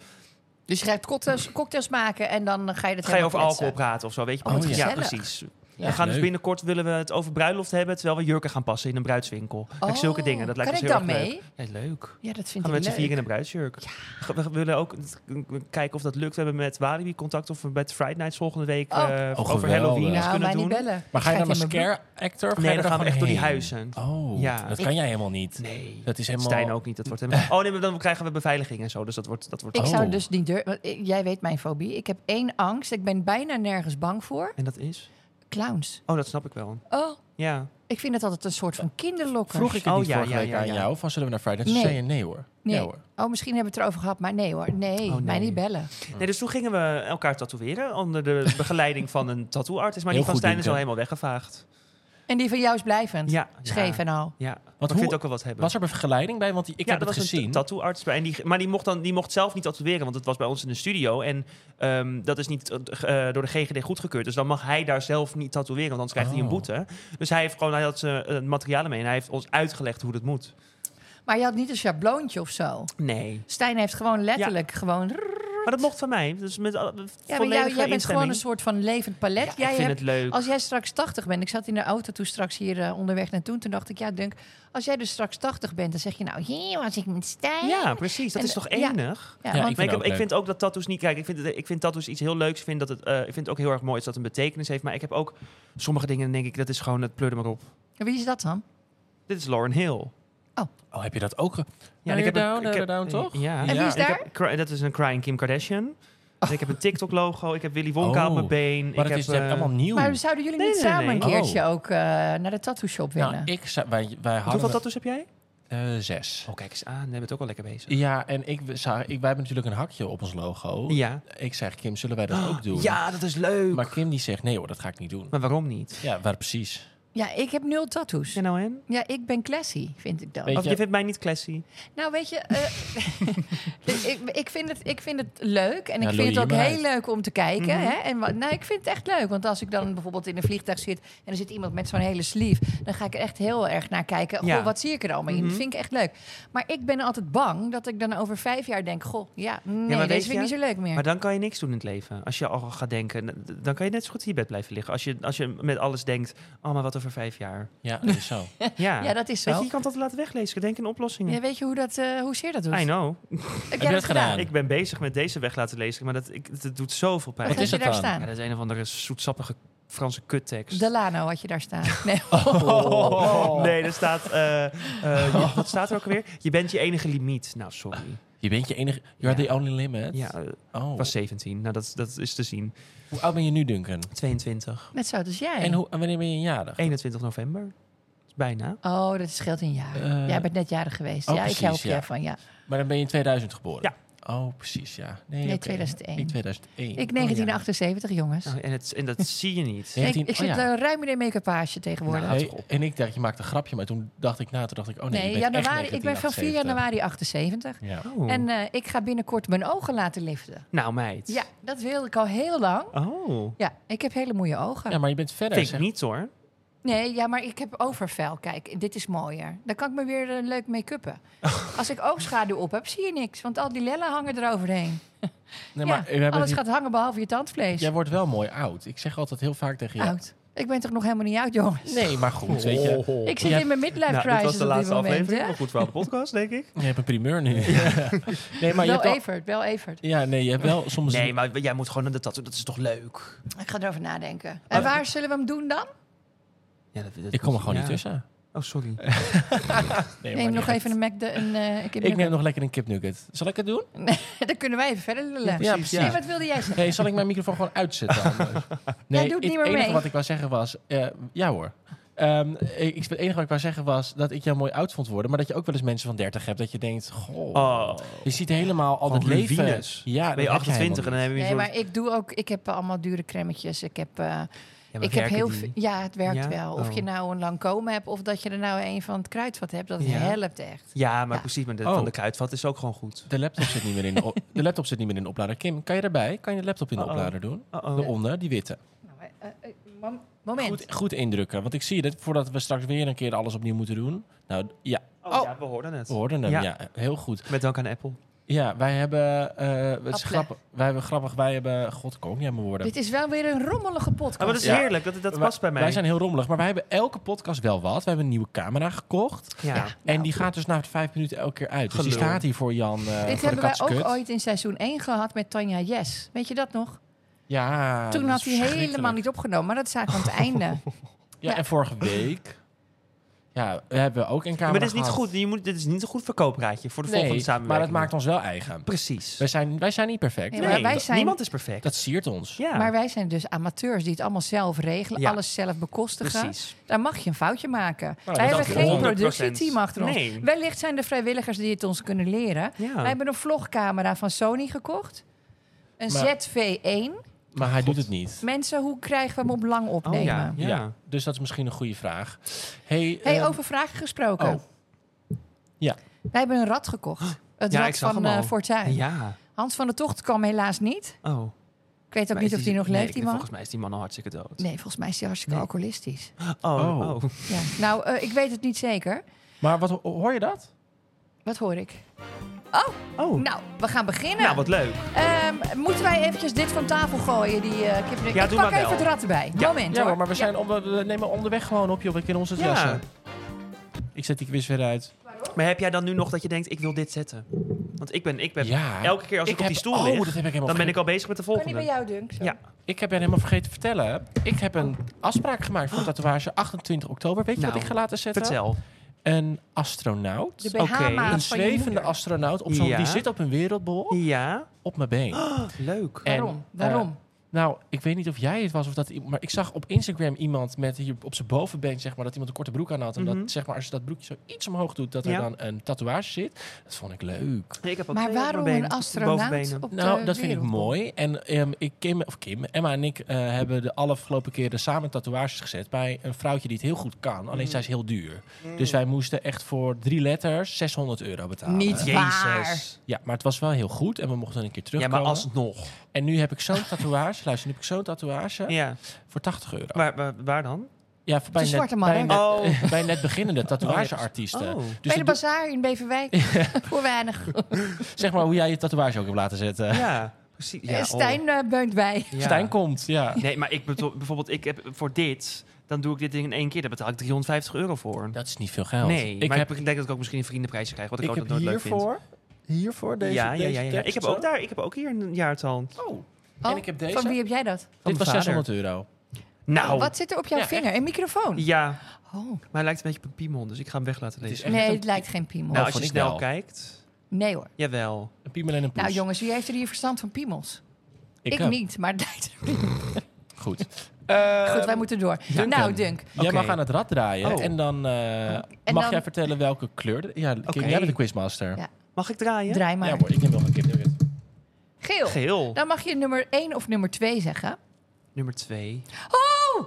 S2: Dus je gaat cocktails, cocktails maken en dan ga je dat
S3: Ga je
S2: helemaal
S3: over
S2: kletsen.
S3: alcohol praten of zo, weet je?
S2: Oh,
S3: wel?
S1: wat
S3: ja,
S2: gezellig.
S3: precies.
S1: Ja,
S3: we gaan dus
S1: leuk.
S3: binnenkort willen we het over bruiloft hebben, terwijl we jurken gaan passen in een bruidswinkel. Kijk, zulke
S2: Oh,
S3: dingen, dat lijkt
S2: kan
S3: ons
S2: ik
S3: heel
S2: dan
S3: erg
S2: mee?
S3: leuk. Nee, leuk.
S2: Ja, dat vind
S3: Gaan
S2: ik
S3: we met z'n
S2: leuk. Nou,
S3: vier in een bruidsjurk. We willen ook kijken of dat lukt. We hebben met Walibi contact of we met Friday Night volgende week
S2: Oh.
S3: eh,
S2: Oh,
S1: geweldig.
S3: over Halloween iets
S2: nou, mij
S3: kunnen
S2: niet
S3: doen.
S2: bellen.
S1: Maar ga je
S2: Gaat
S1: dan als
S2: in mijn
S1: scare actor? of ga
S3: Nee,
S1: je
S3: dan
S1: er
S3: gaan we
S1: gewoon
S3: echt door die
S1: heen?
S3: huizen.
S1: Oh,
S3: Ja.
S1: dat kan jij helemaal niet.
S3: Nee.
S1: Dat is helemaal...
S3: Stijn ook niet. Dat wordt helemaal... Oh nee, maar dan krijgen we beveiliging en zo. Dus dat wordt... Dat wordt
S2: Ik
S1: Oh.
S2: zou dus niet durven. want, eh, Jij weet mijn fobie. Ik heb één angst. Ik ben bijna nergens bang voor.
S3: En dat is?
S2: Clowns.
S3: Oh, dat snap ik wel.
S2: Oh,
S3: Ja.
S2: ik vind het altijd een soort van kinderlokker.
S1: Eh, Vroeg ik het
S3: Oh,
S1: niet
S3: ja,
S1: vorige
S3: ja,
S1: week
S3: ja,
S1: aan
S3: ja.
S1: jou, van zullen we naar Friday? Toen
S2: Nee.
S1: zei je nee E, hoor.
S2: Nee.
S1: Ja, hoor.
S2: Oh, misschien hebben we het erover gehad, maar nee hoor. Nee,
S3: Oh, nee.
S2: mij niet bellen.
S3: Nee, dus toen gingen we elkaar tatoeëren onder de begeleiding van een tattoo-artist. Maar
S1: Heel
S3: die van
S1: goed,
S3: Stijn is
S1: Dienke.
S3: al helemaal weggevaagd.
S2: En die van jou is blijvend.
S3: Ja.
S2: Scheef
S3: Ja.
S2: en al.
S3: Ja,
S1: Want
S3: want
S1: hoe-
S3: hoe, ik vind het ook wel wat hebben.
S1: Was er een vergelijking bij? Want die- ik
S3: ja,
S1: heb
S3: dat
S1: het
S3: was een
S1: gezien.
S3: tattooarts bij. En die, maar die mocht, dan, die mocht zelf niet tatoeëren, want het was bij ons in de studio. En ehm, dat is niet eh, eh, door de GGD goedgekeurd. Dus dan mag hij daar zelf niet tatoeëren, want anders krijgt hij een
S1: Oh.
S3: boete. Dus hij, heeft gewoon, hij had zijn eh, materialen mee en hij heeft ons uitgelegd hoe dat moet.
S2: Maar je had niet een schabloontje of zo.
S3: Nee.
S2: Stijn heeft gewoon letterlijk gewoon... Ja,
S3: Maar dat mocht van mij. Dus met ja,
S2: maar jou- jij bent gewoon
S3: instemming.
S2: een soort van levend palet.
S3: Ja,
S2: jij
S3: ik vind
S2: hebt,
S3: het leuk.
S2: Als jij straks 80 bent, ik zat in de auto toen straks hier eh, onderweg naartoe. Toen dacht ik, ja, Dunk, als jij dus straks 80 bent, dan zeg je nou, hier was ik met Stijn.
S3: Ja, precies. Dat
S2: En-
S3: is toch
S2: ja.
S3: enig?
S1: Ja,
S2: want-
S1: ik-
S3: Maar ik,
S1: vind
S3: heb,
S1: het
S3: ik
S1: ook
S3: vind ook dat tattoos niet... Kijk, ik vind, het- ik vind tattoos iets heel leuks. Ik vind, dat het, eh, ik vind het ook heel erg mooi is dat het een betekenis heeft. Maar ik heb ook sommige dingen, dan denk ik, dat is gewoon... Het pleur er maar op.
S2: Wie is dat dan?
S3: Dit is Lauren Hill.
S1: Oh, heb je dat ook? ge-
S3: en
S1: Later
S3: een-
S1: down, later down, toch?
S3: Ja.
S2: En wie is
S3: En ik
S2: daar?
S3: heb cry- dat is een crying Kim Kardashian. En ik heb een TikTok-logo. Ik heb Willy Wonka op
S1: Oh,
S3: mijn been.
S1: Maar
S3: ik
S1: het
S3: heb,
S1: is net
S3: eh,
S1: allemaal nieuw.
S2: Maar zouden jullie
S3: Nee,
S2: niet
S3: nee, Nou,
S2: samen
S3: nee.
S2: een keertje
S1: Oh.
S2: ook eh, naar de tattoo shop willen?
S1: Nou, ik zou- wij, wij hadden...
S3: Hoeveel
S1: het-
S3: tattoos heb jij?
S1: eh, zes.
S3: Oh, kijk eens aan. Jij bent ook al lekker bezig.
S1: Ja, en ik, zou, ik, wij hebben natuurlijk een hakje op ons logo.
S3: Ja. Oh,
S1: Ik zeg, Kim, zullen wij dat ook doen?
S3: Ja, dat is leuk. Maar,
S1: Maar Kim die zegt, nee hoor, dat ga ik niet doen.
S3: waarom niet?
S1: Ja, waar precies.
S2: Ja, ik heb nul tattoos.
S3: En nou en?
S2: Ja, ik ben classy, vind ik dan.
S1: Weet
S3: Of
S1: je-
S3: je vindt mij niet classy?
S2: Nou, weet je, eh, ik, ik, vind het, ik vind het leuk en
S1: Ja, loei
S2: ik vind het
S1: je
S2: ook
S1: maar
S2: heel
S1: uit.
S2: leuk om te kijken.
S3: Mhm.
S2: hè? En, wa- nou, ik vind het echt leuk, want als ik dan bijvoorbeeld in een vliegtuig zit en er zit iemand met zo'n hele sleeve, dan ga ik er echt heel erg naar kijken. Goh,
S3: Ja.
S2: wat zie ik er allemaal in?
S3: Mhm.
S2: Dat vind ik echt leuk. Maar ik ben altijd bang dat ik dan over vijf jaar denk, goh, ja, nee,
S3: maar
S2: deze
S3: weet
S2: vind ik
S3: je-
S2: niet zo leuk meer.
S3: Maar dan kan je niks doen in het leven. Als je al gaat denken, n- dan kan je net zo goed in je bed blijven liggen. Als je, als je met alles denkt, oh, maar wat over vijf jaar.
S1: Ja, dat is zo.
S3: Ja,
S2: ja, dat is
S3: Weet
S2: zo.
S3: je, je kan dat laten weglezen. Denk in oplossingen.
S2: Ja, weet je hoe dat, eh hoe zeer dat doet?
S3: I know.
S2: Heb
S1: je dat
S2: jij dat
S1: gedaan?
S2: gedaan?
S3: Ik ben bezig met deze weg laten lezen, maar dat, ik, dat doet zoveel pijn.
S2: Wat
S1: is
S2: had je
S1: het
S2: daar
S1: dan?
S3: Ja,
S2: staan?
S3: dat is een of andere zoetsappige Franse kuttekst.
S2: Delano had je daar staan. Nee.
S3: Oh. Nee, er staat. eh, eh, je- wat staat er ook alweer? Je bent je enige limiet. Nou, sorry.
S1: Je bent je enige... You're the only limit.
S3: Ja, eh, ik
S1: Oh.
S3: was 17. Nou, dat, dat is te zien.
S1: Hoe oud ben je nu, Duncan?
S3: 22.
S2: Net zo, dus jij.
S1: En, hoe, en wanneer ben je jarig?
S3: 21 november. Dat is bijna.
S2: Oh, dat scheelt een jaar.
S1: Eh,
S2: Jij bent net jarig geweest.
S1: oh,
S2: ja,
S1: precies,
S2: ik help je
S1: ja.
S2: van ja.
S1: Maar dan ben je in 2000 geboren?
S3: Ja.
S1: Oh, precies, ja. Nee,
S2: Nee,
S1: oké.
S2: 2001.
S1: Ik 2001.
S2: Ik 1978, jongens.
S3: Nou, en, het, en dat zie je niet.
S2: ik,
S1: 19
S2: ik
S1: oh
S2: zit
S1: ja.
S2: eh, ruim in een make-upage tegenwoordig.
S3: Nou,
S1: Oh. Hey, en ik dacht, je maakt een grapje, maar toen dacht ik na, toen dacht ik, oh nee,
S2: nee,
S1: je bent echt
S2: januari, ik ben van 4 januari 78.
S1: 1978. Ja.
S3: Oh.
S2: En eh, ik ga binnenkort mijn ogen laten liften.
S3: nou, meid.
S2: Ja, dat wilde ik al heel lang.
S3: Oh.
S2: Ja, ik heb hele mooie ogen.
S1: ja, maar je bent verder.
S3: Vind ik
S1: zeg.
S3: niet hoor.
S2: Nee, ja, maar ik heb overvel. Kijk, dit is mooier. Dan kan ik me weer eh, leuk make-uppen. Als ik oogschaduw op heb, zie je niks. Want al die lellen hangen eroverheen.
S1: Nee,
S2: ja,
S1: maar we hebben
S2: alles
S1: het
S2: gaat hangen behalve je tandvlees.
S1: niet- Jij wordt wel mooi oud. Ik zeg altijd heel vaak tegen je...
S2: Oud. Ik ben toch nog helemaal niet oud, jongens?
S1: Nee, maar goed, weet je.
S2: Ik zit
S1: Jij-
S2: in mijn midlife
S3: Oh. Nou,
S2: crisis
S3: dit was de
S2: op dit
S3: laatste
S2: moment.
S3: aflevering.
S2: hè?
S3: Maar goed voor alle podcast, denk ik.
S1: Je hebt een primeur nu. nee, maar je
S2: wel
S1: hebt wel,
S2: Evert, wel Evert.
S1: ja, nee, je hebt wel soms...
S3: Nee, maar jij moet gewoon aan de tattoo. Dat is toch leuk?
S2: Ik ga erover nadenken.
S3: Oh.
S2: En waar zullen we hem doen dan?
S3: Ja, dat, dat
S1: Ik kom er
S3: moet-
S1: gewoon niet
S3: ja.
S1: tussen.
S3: Oh, sorry.
S1: Nee,
S2: Neem
S1: maar
S2: nog
S1: niet.
S2: even een Mac... De, een, eh, ik heb
S1: Ik neem nog lekker een kipnugget. Zal ik het doen?
S2: Dan kunnen wij even verder lullen.
S1: Ja, precies.
S2: Nee, wat wilde jij zeggen?
S1: Nee, zal ik mijn microfoon gewoon uitzetten? anders?
S2: doet
S1: het
S2: niet meer
S1: enige
S2: mee.
S1: wat ik wou zeggen was... eh, ja hoor. Ehm, ik, het enige wat ik wou zeggen was dat ik jou mooi oud vond worden. Maar dat je ook wel eens mensen van 30 hebt. Dat je denkt, goh,
S3: Oh.
S1: je ziet helemaal al het
S3: Gewoon
S1: leven.
S3: ruïnes.
S1: Ja,
S3: Ben je
S1: dat heb
S3: 28 en dan
S1: helemaal
S3: heb je
S2: Nee,
S3: zo'n-
S2: maar ik doe ook... Ik heb allemaal dure cremmetjes. Ik heb, eh,
S3: Ja,
S2: ik
S3: maar
S2: heb
S3: werken
S2: heel
S3: die?
S2: veel... Ja, het werkt
S3: Ja?
S2: wel. Of
S3: Oh.
S2: je nou een Lancome hebt of dat je er nou een van het kruidvat hebt. Dat
S3: Ja.
S2: helpt echt.
S3: Ja, maar
S2: Ja.
S3: precies. Maar de,
S1: Oh.
S3: van de kruidvat is ook gewoon goed.
S1: niet. De laptop, zit niet meer in de, op- de laptop zit niet meer in de oplader. Kim, kan je erbij? Kan je de laptop in de
S3: Uh-oh. Oh,
S1: oplader doen?
S3: Uh-oh.
S1: Daaronder, die witte.
S2: Nou, eh, eh, eh, mom- moment.
S1: Goed, goed indrukken, want ik zie dat voordat we straks weer een keer alles opnieuw moeten doen. Nou d- ja,
S3: Oh,
S2: Oh.
S3: ja, we hoorden het.
S1: we hoorden hem. Ja,
S3: Ja.
S1: heel goed.
S3: Met dank aan
S1: Oh,
S3: Apple.
S1: Ja, wij hebben. eh, het is
S2: Appelen.
S1: grappig. Wij hebben grappig. Wij hebben. God, kom jij mijn woorden.
S2: Dit is wel weer een rommelige podcast.
S3: maar dat Ah, is
S1: Ja.
S3: heerlijk. Dat, dat
S1: Wij-
S3: past bij mij.
S1: Wij zijn heel rommelig, maar wij hebben elke podcast wel wat. We hebben een nieuwe camera gekocht.
S3: ja.
S2: Ja.
S1: en die gaat dus na vijf minuten elke keer uit. Dus die
S3: Gelul.
S1: staat hier voor Jan. eh, voor
S2: Dit
S1: de
S2: hebben wij ook
S1: katsenkut.
S2: ooit in seizoen 1 gehad met Tanja Yes. Weet je dat nog?
S1: Ja.
S2: Toen
S1: dat
S2: had
S1: is
S2: hij helemaal
S1: verschrikkelijk.
S2: niet opgenomen, maar dat is eigenlijk
S3: Oh.
S2: aan het einde.
S1: Ja, en vorige week. Ja, we hebben ook een camera.
S3: Ja, maar dit is niet
S1: gehad.
S3: goed. Je moet, dit is niet een goed verkoopraadje voor de
S1: Nee,
S3: volgende
S1: maar
S3: samenwerking.
S1: dat maakt ons wel eigen.
S3: Precies.
S1: Wij zijn, wij zijn niet perfect.
S2: Nee, maar wij
S3: dat-
S2: zijn-
S3: Niemand is perfect.
S1: Dat siert ons.
S3: ja,
S2: Maar wij zijn dus amateurs die het allemaal zelf regelen,
S3: Ja.
S2: alles zelf bekostigen.
S3: precies. Nou,
S2: Daar mag je een foutje maken.
S1: dat
S2: wij hebben
S1: is
S2: geen
S3: 100%.
S2: productieteam achter ons.
S3: Nee.
S2: Wellicht zijn er vrijwilligers die het ons kunnen leren.
S3: Ja.
S2: Wij hebben een vlogcamera van Sony gekocht. Een
S1: Maar-
S2: ZV1.
S1: Maar hij doet het niet.
S2: Mensen, hoe krijgen we hem op lang
S3: Oh
S2: opnemen?
S3: ja. Eh, ja.
S1: Ja. Dus dat is misschien een goede vraag. Hey,
S2: Hey,
S1: ehm,
S2: over vragen gesproken.
S1: oh. Ja.
S2: Wij hebben een rat gekocht. Het
S3: Ja, ik
S2: rat
S3: zag
S2: van
S3: hem al.
S2: eh, Fortuin.
S3: Ja.
S2: Hans van der Tocht kwam helaas niet.
S3: Oh. Ook
S2: Ik weet ook niet of die nog leeft, die man.
S3: Volgens mij is die man al hartstikke dood.
S2: Nee, volgens mij is hij hartstikke
S3: Nee.
S2: alcoholistisch.
S3: Oh.
S1: Oh.
S3: oh.
S2: Ja. Nou, eh, ik weet het niet zeker.
S1: Maar wat ho- hoor je dat?
S2: Wat hoor ik?
S3: Oh.
S2: Nou, we gaan beginnen.
S3: Nou, wat leuk.
S2: Ehm, moeten wij eventjes dit van tafel gooien? Die, eh kip...
S3: Ja,
S2: ik
S3: doe
S2: pak
S3: maar
S2: even
S3: wel.
S2: het rat erbij.
S3: Ja.
S2: Moment
S1: Ja,
S2: hoor.
S1: maar we, zijn op, we nemen onderweg gewoon op, joh. Ik in onze
S3: Ja.
S1: jassen. Ik zet die quiz weer uit.
S3: Maar heb jij dan nu nog dat je denkt, ik wil dit zetten? Want ik ben, ik ben
S1: Ja.
S3: elke keer als ik, op
S1: heb-
S3: die stoel
S1: oh,
S3: lig,
S1: dat heb ik helemaal
S3: dan ben ik
S1: vergeten.
S3: al bezig met de
S2: Kan niet bij
S3: volgende.
S2: jou, Dunk. Zo.
S3: Ja.
S1: Ik heb ben helemaal vergeten te vertellen. Ik heb een afspraak gemaakt voor tatoeage 28 oktober. Weet je wat
S3: Nou,
S1: ik ga laten zetten?
S3: Vertel.
S1: Een astronaut.
S2: De
S3: Oké.
S2: BH-maat
S1: Een
S2: van je
S1: zwevende
S2: moeder.
S1: astronaut. Op zo'n,
S3: Ja.
S1: Die zit op een wereldbol
S3: Ja.
S1: op mijn been.
S3: Leuk.
S1: En,
S2: Waarom?
S1: eh,
S2: Waarom?
S1: Nou, ik weet niet of jij het was of dat... i- Maar ik zag op Instagram iemand met hier op zijn bovenbeen, zeg maar... dat iemand een korte broek aan had. En
S3: Mhm.
S1: dat, zeg maar, als je dat broekje zo iets omhoog doet... dat er
S3: Ja.
S1: dan een tatoeage zit. Dat vond ik leuk.
S3: Ik heb ook
S2: Maar
S3: twee op
S2: waarom
S3: mijn
S2: een
S3: been,
S2: astronaut
S3: bovenbenen.
S2: op
S1: Nou,
S2: de
S1: dat vind ik
S2: wereld?
S1: mooi. En ehm, ik, Kim, of Kim, Emma en ik eh, hebben de afgelopen keren samen tatoeages gezet bij een vrouwtje die het heel goed kan. Alleen
S3: Mm.
S1: zij is heel duur. Dus wij moesten echt voor drie letters 600 euro betalen.
S2: Niet
S3: Jezus.
S2: Waar.
S1: Ja, maar het was wel heel goed en we mochten een keer
S3: Ja,
S1: terugkomen.
S3: maar alsnog.
S1: En nu heb ik zo'n tatoeage. Luister, nu heb ik zo'n tatoeage
S3: Ja.
S1: voor 80 euro.
S3: Maar, maar waar dan?
S1: ja, voor bij
S2: De
S1: net,
S2: zwarte man,
S1: bij,
S2: hè?
S1: net,
S3: Oh.
S1: bij net beginnende tatoeageartiesten.
S3: Oh.
S1: Dus
S2: Bij de
S1: dat doe-
S2: bazaar in Beverwijk. Voor weinig.
S1: zeg maar hoe jij je tatoeage ook hebt laten zetten.
S3: Ja, precies. Ja,
S2: Eh,
S3: oh.
S2: Stijn eh, beunt bij.
S3: Ja.
S1: Stijn komt, ja.
S3: Nee, maar ik bedoel, bijvoorbeeld, ik heb voor dit, dan doe ik dit ding in één keer. Daar betaal ik 350 euro voor.
S1: Dat is niet veel geld.
S3: nee,
S1: ik
S3: maar
S1: heb,
S3: ik denk dat ik ook misschien een vriendenprijsje krijg, wat ik,
S1: ik
S3: ook
S1: heb
S3: nooit leuk vind.
S1: hiervoor, hiervoor deze,
S3: ja, ja, ja, ja.
S1: deze
S3: Ik heb
S1: tekst
S3: ook daar, ik heb ook hier een jaartal.
S1: zo. Oh,
S2: Oh,
S1: En ik heb deze.
S2: Van wie heb jij dat?
S1: dit
S3: mijn
S1: was
S3: vader.
S1: 600 euro.
S3: Nou,
S2: Wat zit er op jouw
S1: Ja,
S2: vinger? Een microfoon?
S3: ja,
S2: Oh.
S3: maar hij lijkt een beetje op een piemel, dus ik ga hem weg laten
S1: Het is
S3: lezen.
S1: echt
S2: Nee,
S1: een-
S2: het lijkt geen piemel.
S3: Nou,
S1: Oh,
S3: als je
S1: vond ik
S3: snel
S1: wel.
S3: kijkt,
S2: Nee hoor.
S3: jawel.
S1: Een piemel en een poes.
S2: Nou
S3: Dus-
S2: jongens, wie heeft er hier verstand van piemels? Ik,
S1: heb-
S2: niet, maar het lijkt er niet.
S1: Goed.
S2: Goed,
S1: Ehm,
S2: wij moeten door.
S1: Duncan.
S2: Nou, Dunk.
S1: Jij
S3: Oké.
S1: mag aan het rad draaien
S3: Oh.
S1: en dan eh,
S2: En
S1: mag
S2: dan-
S1: jij vertellen welke kleur... de- ja, Kim,
S3: Oké.
S1: jij bent de quizmaster.
S2: Ja.
S3: Mag ik draaien?
S2: Draai
S1: Ja,
S2: maar.
S1: hoor, ik neem wel een Kim. neem het.
S2: Geel.
S3: Geel.
S2: Dan mag je nummer 1 of nummer 2 zeggen.
S3: Nummer twee.
S2: Oh!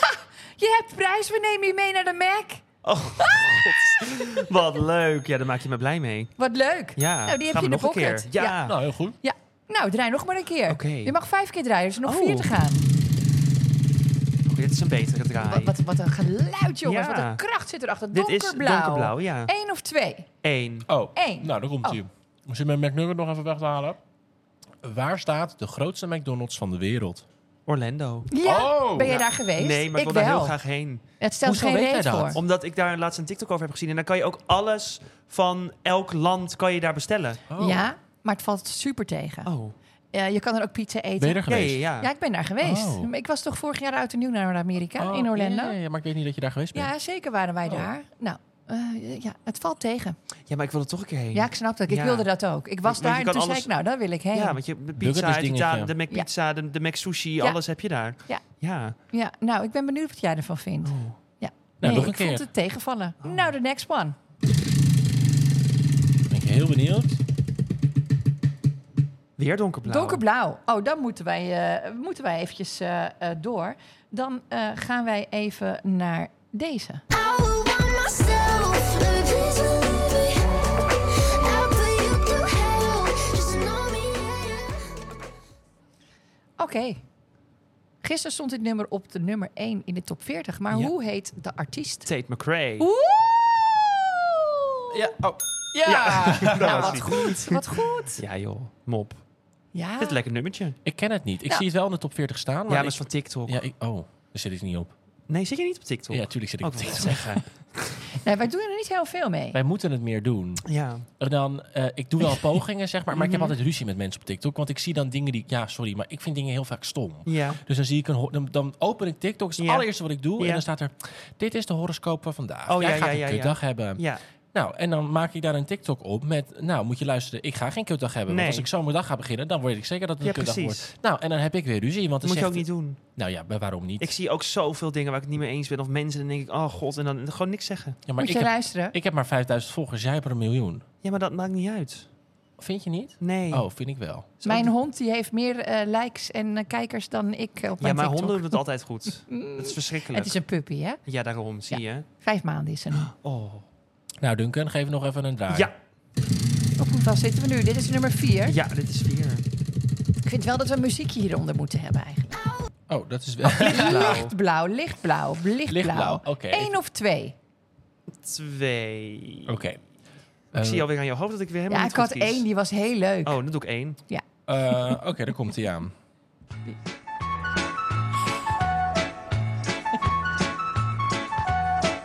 S2: Ha! Je hebt prijs, we nemen je mee naar de Mac.
S3: Oh, god. wat leuk. Ja, daar maak je me blij mee.
S2: Wat leuk.
S3: Ja,
S2: nou, die heb
S3: gaan
S2: je in de
S3: we nog een
S2: pocket.
S3: keer. Ja.
S2: Ja.
S1: Nou, heel goed.
S2: Nou, draai nog maar een keer.
S3: Oké.
S2: Je mag vijf keer draaien, dus er zijn nog
S3: Oh.
S2: vier te gaan.
S3: Oké, dit is een betere draai.
S2: Wat, wat, wat een geluid, jongens.
S3: Ja.
S2: Wat een kracht zit erachter.
S3: dit is
S2: Donkerblauw.
S3: donkerblauw, ja.
S2: Eén of twee?
S3: Eén.
S1: Oh,
S2: Eén.
S1: nou, daar komt hij. Misschien mijn McNugget nog even weg te halen. Waar staat de grootste McDonald's van de wereld?
S3: Orlando.
S2: Ja,
S1: Oh.
S2: ben je
S1: Ja.
S2: daar geweest?
S3: Nee, maar ik wil
S2: wel.
S3: daar heel graag heen.
S2: Het stelt
S1: Hoezo
S2: geen
S1: weet jij
S2: reet
S1: dat?
S2: voor.
S3: Omdat ik daar laatst een TikTok over heb gezien. En dan kan je ook alles van elk land kan je daar bestellen.
S1: Oh.
S2: Ja, maar het valt super tegen.
S3: Oh,
S2: Eh, je kan er ook pizza
S1: Ben je
S2: eten.
S1: er
S3: ja,
S1: geweest?
S3: ja, ja.
S2: Ja, ik ben daar geweest.
S1: Oh.
S2: Ik was toch vorig jaar uit en nieuw naar Amerika,
S1: Oh,
S2: in Orlando.
S1: ja, ja, ja, maar ik weet niet dat je daar geweest bent.
S2: Ja, zeker waren wij
S1: Oh.
S2: daar. Nou, eh, ja, het valt tegen.
S3: Ja, maar ik wil er toch een keer heen.
S2: Ja, ik snap dat. Ik
S3: Ja.
S2: wilde dat ook. Ik was
S3: Want je
S2: daar en
S3: kan
S2: toen zei
S3: alles-
S2: ik, nou, daar wil ik heen.
S3: Ja,
S2: Ja,
S3: want je de
S1: Nuggets
S3: pizza, uit
S1: dus dingetje.
S3: Italië, de McPizza, de, de McSushi,
S2: Ja.
S3: alles heb je daar.
S2: Ja.
S3: Ja.
S2: nou, ik ben benieuwd wat jij ervan vindt.
S3: Oh.
S1: Nou, nog
S2: nee,
S1: een
S2: ik vond
S1: keer. Oh.
S2: het tegenvallen. Nou, the next one.
S1: Ben ik heel benieuwd.
S3: Weer donkerblauw.
S2: Donkerblauw. Oh, dan moeten wij, eh, moeten wij eventjes eh, eh, door. Dan eh, gaan wij even naar deze.
S4: I will want myself a piece of me. I'll put you through hell. Just know me, yeah.
S2: Oké. Gisteren stond dit nummer op de nummer 1 in de top 40. Maar
S3: Ja.
S2: hoe heet de artiest?
S3: Tate McRae.
S2: Oeh!
S1: Ja, oh.
S2: Ja!
S3: dat
S2: nou,
S3: was
S2: wat
S3: die.
S2: goed. Wat goed.
S3: Ja joh, mop.
S2: Ja.
S3: Dit
S2: Ah.
S3: is een lekker
S2: Oh,
S3: nummertje.
S1: Ik ken het niet. Ik
S2: Ja.
S1: zie het wel in de top 40 staan. Maar
S3: ja, maar
S1: ik-
S3: is van TikTok.
S1: ja, ik- oh, daar zit ik niet op.
S3: Nee, zit je niet op TikTok?
S1: Ja, tuurlijk zit ik
S3: Oh,
S1: op
S3: ik wil het
S1: TikTok.
S3: zeggen.
S2: Nee, wij doen er niet heel veel mee.
S1: Wij moeten het meer doen.
S3: Ja.
S1: En dan, eh, ik doe wel pogingen, zeg maar. Maar ik heb altijd ruzie met mensen op TikTok. Want ik zie dan dingen die... Ja, sorry, maar ik vind dingen heel vaak stom.
S3: Ja.
S1: Dus dan zie ik een... ho- Dan, dan open ik TikTok. Dat is het
S3: Ja.
S1: allereerste wat ik doe.
S3: Ja.
S1: En dan staat er... Dit is de horoscoop van vandaag.
S3: Oh,
S1: Jij
S3: ja,
S1: gaat
S3: ja,
S1: een
S3: ja,
S1: kutdag hebben.
S3: Ja.
S1: Nou, en dan maak ik daar een TikTok op met... Nou, moet je luisteren. Ik ga geen kutdag hebben.
S3: Nee.
S1: Want als ik zo mijn dag ga beginnen... Dan weet ik zeker dat het
S3: Ja,
S1: een kutdag
S3: precies.
S1: wordt. Nou, en dan heb ik weer ruzie. Want dan
S3: Dat moet je
S1: zegt...
S3: ook niet doen.
S1: Nou ja, maar waarom niet?
S3: Ik zie ook zoveel dingen waar ik het niet mee eens ben. Of mensen, dan denk ik, oh god, en dan gewoon niks zeggen.
S1: ja, maar
S2: Moet
S1: ik
S2: je
S1: heb,
S2: luisteren?
S1: ik heb maar 5000 volgers. Jij hebt er een miljoen.
S3: Ja, maar dat maakt niet uit.
S1: Vind je niet?
S3: Nee.
S1: Oh, vind ik wel.
S3: Zo-
S2: Mijn hond die heeft meer eh, likes en eh, kijkers dan ik eh, op
S3: Ja,
S2: mijn
S3: maar
S2: TikTok. Mm.
S3: honden doen het altijd goed. Dat is
S2: Het
S3: verschrikkelijk.
S2: is een puppy, hè?
S3: Ja, daarom, zie je.
S2: Vijf maanden is er nu.
S3: Oh.
S1: Nou, Duncan, geef nog even een draai.
S3: Ja,
S2: Op hoeveel zitten we nu? Dit is nummer vier.
S3: ja, dit is vier.
S2: Ik vind wel dat we een muziekje hieronder moeten hebben eigenlijk.
S1: Oh, dat is wel...
S3: Blauw.
S2: Lichtblauw, lichtblauw, lichtblauw.
S1: Lichtblauw, oké.
S2: Eén of twee?
S3: Twee.
S1: Oké.
S3: Ik
S1: Eh,
S3: zie alweer aan je hoofd dat ik weer helemaal
S2: Ja,
S3: niet
S2: ik had
S3: goed kies.
S2: één, die was heel leuk.
S3: Oh, dan doe ik één.
S1: eh, Oké, daar komt hij aan.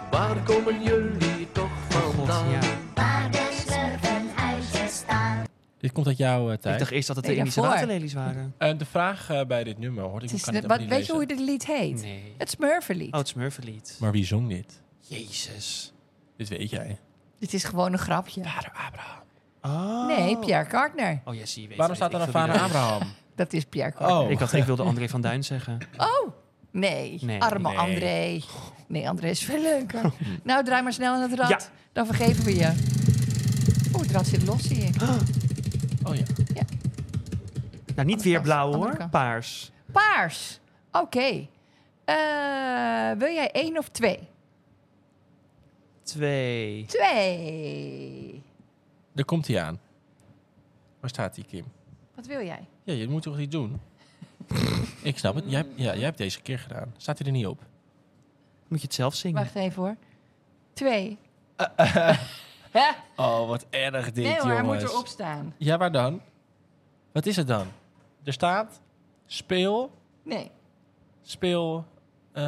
S5: Waar komen jullie toch
S2: Oh,
S3: God,
S5: vandaan?
S3: ja.
S4: Waar de zwerven uit je staan.
S1: Dit komt uit jouw eh
S3: Ik
S1: tijd.
S3: dacht eerst dat het de
S2: Nee,
S3: Indische
S2: daarvoor.
S3: waterlelies waren.
S1: Eh, de vraag eh, bij dit nummer, hoor. Ik
S2: Het is
S1: kan
S2: de-
S1: het
S2: wat,
S1: ook niet
S2: weet je hoe
S1: lezen.
S2: dit lied heet?
S3: Nee.
S2: Het Smurfenlied.
S3: Oh, het Smurfenlied.
S1: Maar wie zong dit?
S3: Jezus.
S1: Dit weet jij.
S2: Dit is gewoon een grapje.
S1: Vader Abraham.
S3: Oh.
S2: Nee, Pierre Kartner.
S3: Oh, ja, zie je. Weet,
S1: Waarom
S3: weet,
S1: staat er
S3: ik
S1: dan vader
S3: wil die-
S1: Abraham?
S2: Dat is Pierre Cor.
S1: Oh,
S3: Ik, had, ik wilde André van Duin zeggen.
S2: Oh, nee.
S3: Nee.
S2: Arme
S1: Nee. Oh.
S2: André. Nee, André is veel leuker. nou, draai maar snel aan het rad.
S3: Ja.
S2: Dan vergeven we je. Oeh, het rad zit los, zie ik.
S1: oh ja.
S3: Nou, niet
S2: Andere
S3: weer blauw
S2: kant, andere
S3: hoor.
S2: kant.
S3: Paars.
S2: Paars. Oké. Eh, wil jij één of twee?
S3: Twee.
S2: Twee.
S1: Daar komt hij aan. Waar staat hij, Kim?
S2: Wat wil jij?
S1: Ja, je moet toch niet doen? ik snap het. Jij, hebt- ja, jij hebt deze keer gedaan. Staat hij er niet op?
S3: Moet je het zelf zingen?
S2: Wacht even hoor. Twee.
S1: Oh, wat erg dit,
S2: nee hoor, hij moet
S1: jongens.
S2: erop staan.
S1: Ja, waar dan? Wat is het dan? Er staat... Speel...
S2: Nee.
S1: Speel... eh,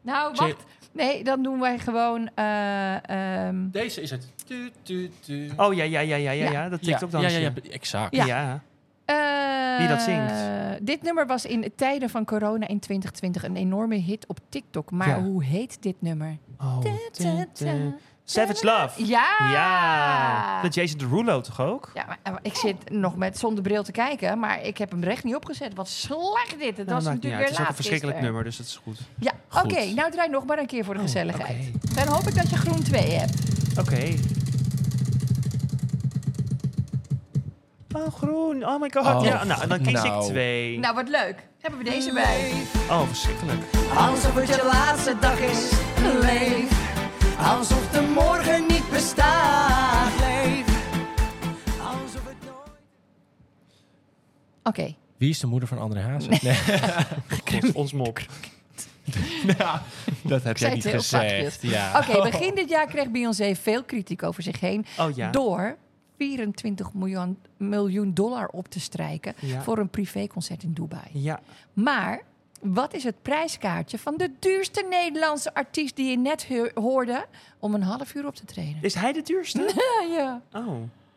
S2: Nou,
S1: Zie-
S2: wacht. Nee, dan doen wij gewoon... eh, ehm,
S1: deze is het. Tu, tu, tu.
S3: Oh ja, ja, ja, ja, ja,
S2: Ja.
S3: ja. Dat
S1: ja, ja,
S3: TikTok-dansje.
S1: ja, ja, exact.
S2: Ja.
S3: ja.
S2: Eh,
S3: Wie dat zingt.
S2: Dit nummer was in de tijden van corona in 2020 een enorme hit op TikTok. Maar
S3: Ja.
S2: hoe heet dit nummer?
S3: Oh.
S2: ta, ta.
S3: Savage Love.
S2: Ja!
S3: Ja. Met Jason Derulo toch ook?
S2: Ja, maar, maar ik zit nog met zonder bril te kijken, maar ik heb hem recht niet opgezet. Wat slecht dit. Het
S3: Nou,
S2: was
S3: maakt niet
S2: natuurlijk
S3: uit.
S2: weer
S3: Het is ook
S2: laat
S3: een verschrikkelijk
S2: gisteren.
S3: nummer, dus dat is goed. Oh,
S2: Ja,
S1: Goed.
S2: oké. nou, draai nog maar een keer voor de gezelligheid.
S3: oké.
S2: Dan hoop ik dat je groen 2 hebt.
S3: Oké. Oh, groen. Oh my god.
S1: Oh,
S3: ja, nou, dan kies
S1: nou.
S3: ik twee.
S2: Nou, wat leuk. Hebben we deze bij?
S3: Oh, verschrikkelijk.
S6: Alsof het je laatste dag is, leef. Alsof de morgen niet bestaat, leef. Alsof het nooit...
S2: Oké.
S1: Wie is de moeder van André Haas? Nee.
S3: Ons, ons mop.
S1: Ja, dat heb jij
S2: zei
S1: niet
S2: het heel
S1: gezegd.
S2: zachtjes.
S1: Ja.
S2: Oké, begin dit jaar kreeg Beyoncé veel kritiek over zich heen.
S3: Oh ja.
S2: Door 24 miljoen, miljoen dollar op te strijken
S3: Ja.
S2: voor een privéconcert in Dubai.
S3: Ja.
S2: Maar wat is het prijskaartje van de duurste Nederlandse artiest die je net hu- hoorde om een half uur op te treden?
S3: Is hij de duurste?
S2: Ja, ja.
S3: Oh.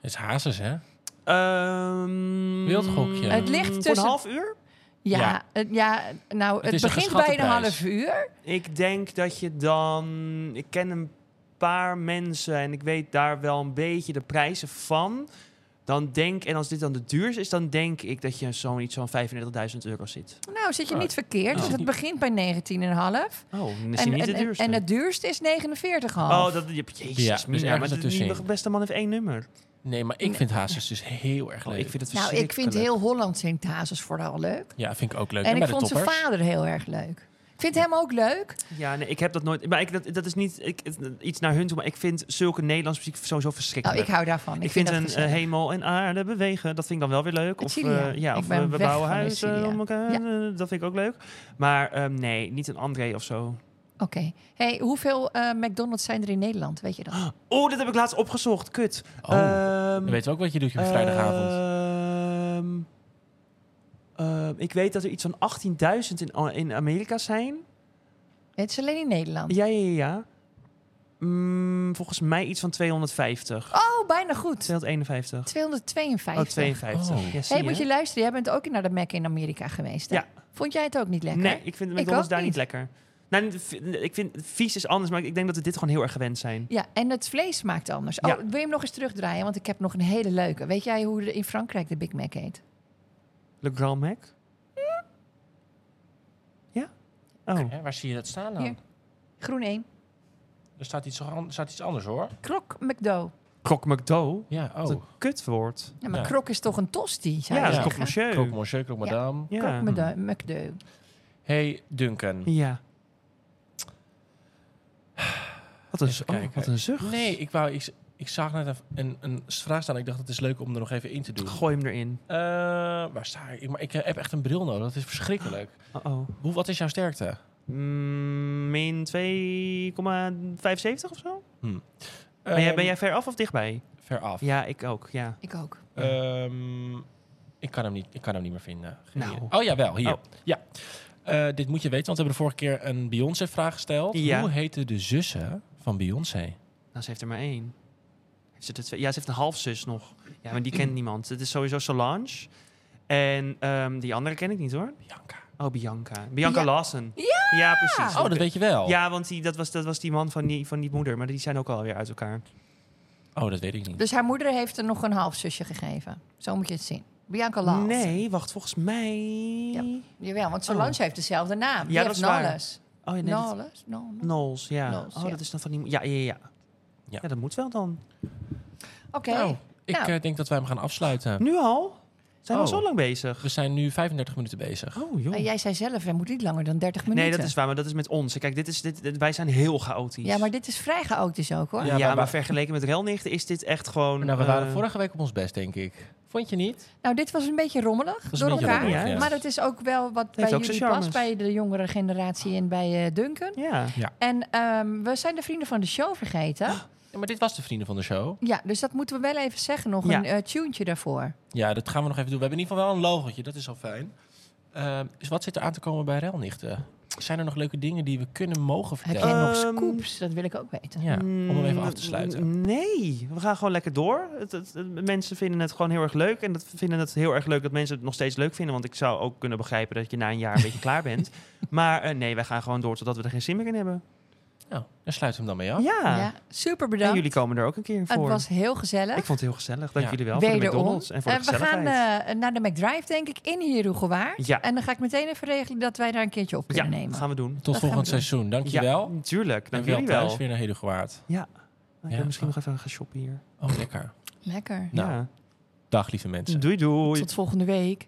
S1: Het is Hazes, hè?
S3: Ehm
S1: Wild gokje.
S2: Het ligt
S3: voor
S2: tussen-
S3: een half uur?
S2: Ja,
S1: Ja.
S2: het- ja, nou, het,
S1: is een
S2: begint
S1: geschatte
S2: bij een
S1: prijs.
S2: half uur.
S3: Ik denk dat je dan... Ik ken een paar mensen en ik weet daar wel een beetje de prijzen van. Dan denk, en als dit dan de duurste is, dan denk ik dat je zo'n iets van 35.000 euro zit.
S2: Nou, zit je
S1: Oh.
S2: niet verkeerd.
S1: Oh.
S2: Dus het begint bij 19,5.
S3: Oh, dan is
S2: En,
S3: hij niet de
S2: en, en,
S3: duurste.
S2: en het duurste is 49,5.
S3: Oh, dat, je- jezus,
S1: Ja,
S3: ja,
S1: dus ergens
S3: maar dat
S1: ertussenin.
S3: die beste man heeft één nummer.
S1: Nee, maar ik vind Hazes dus heel erg
S3: Oh,
S1: leuk.
S3: ik vind het
S2: Nou, ik vind
S3: verschrikkelijk.
S2: heel Holland zijn Hazes vooral leuk.
S1: Ja, vind ik ook leuk.
S2: en
S1: bij
S2: ik
S1: Eh, de
S2: vond zijn
S1: toppers.
S2: vader heel erg leuk. Ik vind hem ook leuk.
S3: Ja, nee, ik heb dat nooit... Maar ik, dat, dat is niet ik, het- iets naar hun toe, maar ik vind zulke Nederlandse muziek sowieso
S2: Oh,
S3: verschrikkelijk.
S2: ik hou daarvan. Ik,
S3: Ik vind,
S2: dat
S3: een
S2: gezellig.
S3: eh, hemel en aarde bewegen, dat vind ik dan wel weer leuk. Of,
S2: Italië.
S3: eh, ja,
S2: Ik
S3: of
S2: ben
S3: we, we
S2: weg
S3: bouwen
S2: van
S3: huizen
S2: Italië.
S3: om elkaar,
S2: Ja.
S3: eh, dat vind ik ook leuk. Maar ehm, nee, niet een André of zo.
S2: Oké. Hey, hoeveel eh, McDonald's zijn er in Nederland? Weet je dat?
S3: Oh, dat heb ik laatst opgezocht, kut.
S1: Oh,
S3: Ehm,
S1: Dan weten we ook wat je doet op vrijdagavond.
S3: ehm, ehm, ik weet dat er iets van 18.000 in, A- in Amerika zijn.
S2: Het is alleen in Nederland.
S3: Ja, ja, ja, ja. Mm, volgens mij iets van 250.
S2: Oh, bijna goed.
S3: 251.
S2: 252.
S3: Oh, 52.
S1: Oh.
S3: Ja, zie
S2: hey, moet
S3: je?
S2: je luisteren. Jij bent ook naar de Mac in Amerika geweest. Hè?
S3: Ja.
S2: Vond jij het ook niet lekker?
S3: Nee, ik vind de
S2: Ik
S3: McDonald's
S2: ook
S3: daar niet,
S2: niet.
S3: lekker. Nou, niet- v- ik vind vies is anders, maar ik denk dat we dit gewoon heel erg gewend zijn.
S2: Ja, en het vlees smaakt anders.
S3: Ja.
S2: Oh, wil je hem nog eens terugdraaien? Want ik heb nog een hele leuke. Weet jij hoe de- in Frankrijk de Big Mac heet?
S3: Le Grand Mac? Ja? Oh.
S1: Hè, waar zie je dat staan dan?
S2: Hier. Groen 1.
S1: Er staat iets, an- staat iets anders, hoor.
S2: Krok McDo.
S3: Krok McDo?
S1: Ja,
S3: Wat
S1: oh.
S3: een kutwoord.
S2: Ja, maar
S1: Ja.
S2: krok is toch een tosti? Zou
S3: Ja,
S2: je
S3: dat
S1: ja.
S3: is krok
S2: zeggen?
S1: Krok,
S3: monsieur.
S1: monsieur, krok, madame.
S3: Ja.
S2: Krok McDo. McDo.
S1: Hey, Duncan.
S3: ja. Wat een,
S1: Even
S3: oh,
S1: kijken.
S3: wat een zucht.
S1: Nee, ik, wou, ik, ik zag net een- een, een vraag staan. Ik dacht, het is leuk om er nog even in te doen.
S3: Gooi hem erin.
S1: Eh, waar sta ik? Ik- Maar ik heb echt een bril nodig. Dat is verschrikkelijk.
S3: Uh-oh.
S1: Hoe, wat is jouw sterkte?
S3: Mm, min 2,75 of zo? ben, jij,
S1: Ehm,
S3: ben jij ver af of dichtbij?
S1: ver af?
S3: Ja, ik ook. Ja.
S2: Ik ook.
S1: Ehm, ik, kan hem niet, ik kan hem niet meer vinden. Geen
S3: Nou.
S1: idee. Oh ja, wel. Hier.
S3: Oh.
S1: Ja. Eh, dit moet je weten, want we hebben de vorige keer een Beyoncé-vraag gesteld.
S3: Ja.
S1: Hoe heten de zussen van Beyoncé?
S3: Nou, ze heeft er maar één. Heeft ze er twee? Ja, ze heeft een halfzus nog. Ja, maar die kent niemand. Het is sowieso Solange. En ehm, die andere ken ik niet hoor.
S1: Bianca.
S3: Oh, Bianca. Bianca
S2: Ja.
S3: Lawson. Ja! Ja, precies.
S1: Oh, dat weet je wel.
S3: Ja, want die, dat, was, dat was die man van die, van die moeder. Maar die zijn ook alweer uit elkaar.
S1: Oh, dat weet ik niet.
S2: Dus haar moeder heeft er nog een halfzusje gegeven. Zo moet je het zien. Bianca Lals.
S3: Nee, wacht, volgens mij... Oh,
S2: Ja. Jawel, want Solange heeft dezelfde naam. Die
S3: Ja, dat
S2: heeft
S3: is waar.
S2: Nolles.
S3: Oh, ja, nee, dat-
S2: Nolles? Nolles.
S3: Knowles, ja.
S2: Knowles,
S3: oh,
S2: ja.
S3: dat is dan van die... Ja, ja, ja.
S1: Ja.
S3: Ja, dat moet wel dan.
S2: Oké.
S3: Oh.
S1: Nou, ik
S2: Nou.
S1: eh, denk dat wij hem gaan afsluiten.
S3: Nu al? Zijn we
S1: Oh.
S3: al zo lang bezig?
S1: We zijn nu 35 minuten bezig.
S3: Oh, joh.
S2: Maar jij zei zelf, hij moet niet langer dan 30 Ah, minuten.
S3: Nee, dat is waar, maar dat is met ons. Kijk, dit is, dit, dit- wij zijn heel chaotisch.
S2: Ja, maar dit is vrij chaotisch ook hoor.
S1: Ja,
S3: Ja,
S1: maar-
S3: maar, vergeleken met Relnicht is dit echt gewoon...
S1: Nou, we waren
S3: eh,
S1: vorige week op ons best, denk ik. Vond je niet?
S2: Nou, dit was een beetje rommelig
S1: was een
S2: door
S1: beetje
S2: elkaar.
S1: rommelig, ja.
S2: Maar dat is ook wel wat bij
S3: heeft ook
S2: jullie
S3: zijn charmes.
S2: past, bij de jongere generatie en bij eh, Duncan.
S3: Ja.
S2: En ehm, we zijn de vrienden van de show vergeten.
S1: Ja, maar dit was de vrienden van de show.
S2: Ja, dus dat moeten we wel even zeggen. Nog
S3: Ja.
S2: een eh tuentje daarvoor.
S1: Ja, dat gaan we nog even doen. We hebben in ieder geval wel een logotje, dat is al fijn. Ehm, dus wat zit er aan te komen bij Relnichten? Zijn er nog leuke dingen die we kunnen mogen
S2: Heb
S1: vertellen?
S2: jij nog
S3: Ehm,
S2: scoops? Dat wil ik ook weten.
S1: Ja, om hem even af te
S3: Mm,
S1: sluiten.
S3: Nee, we gaan gewoon lekker door. Het, het- het- mensen vinden het gewoon heel erg leuk. En dat vinden het heel erg leuk dat mensen het nog steeds leuk vinden. Want ik zou ook kunnen begrijpen dat je na een jaar een beetje klaar bent. Maar eh, nee, wij gaan gewoon door totdat we er geen zin meer in hebben.
S1: Nou, dan sluiten we hem dan mee af.
S3: Ja.
S2: Ja, super
S3: En
S2: bedankt.
S3: jullie komen er ook een keer
S2: het
S3: voor.
S2: was heel gezellig.
S3: Ik vond het heel gezellig. Dank
S1: Ja.
S3: jullie wel voor de
S2: Wederom.
S3: McDonald's en voor
S2: Eh,
S3: de
S2: we gaan
S3: gezelligheid.
S2: eh, naar de McDrive, denk ik, in Hieroegewaard.
S3: Ja.
S2: En dan ga ik meteen even regelen dat wij daar een keertje op
S3: ja,
S2: kunnen nemen.
S3: gaan we doen.
S1: Tot
S2: we
S1: volgend
S2: doen.
S1: seizoen. Dankjewel.
S3: Ja, tuurlijk. Dank
S1: en wel
S3: jullie
S1: thuis
S3: wel.
S1: weer naar Hedegewaard.
S3: Ja. Ik
S1: Ja.
S3: wil misschien nog even gaan shoppen hier.
S1: Oh, lekker.
S2: Lekker.
S1: Nou,
S3: Ja.
S1: dag lieve mensen.
S3: Doei doei.
S2: Tot volgende week.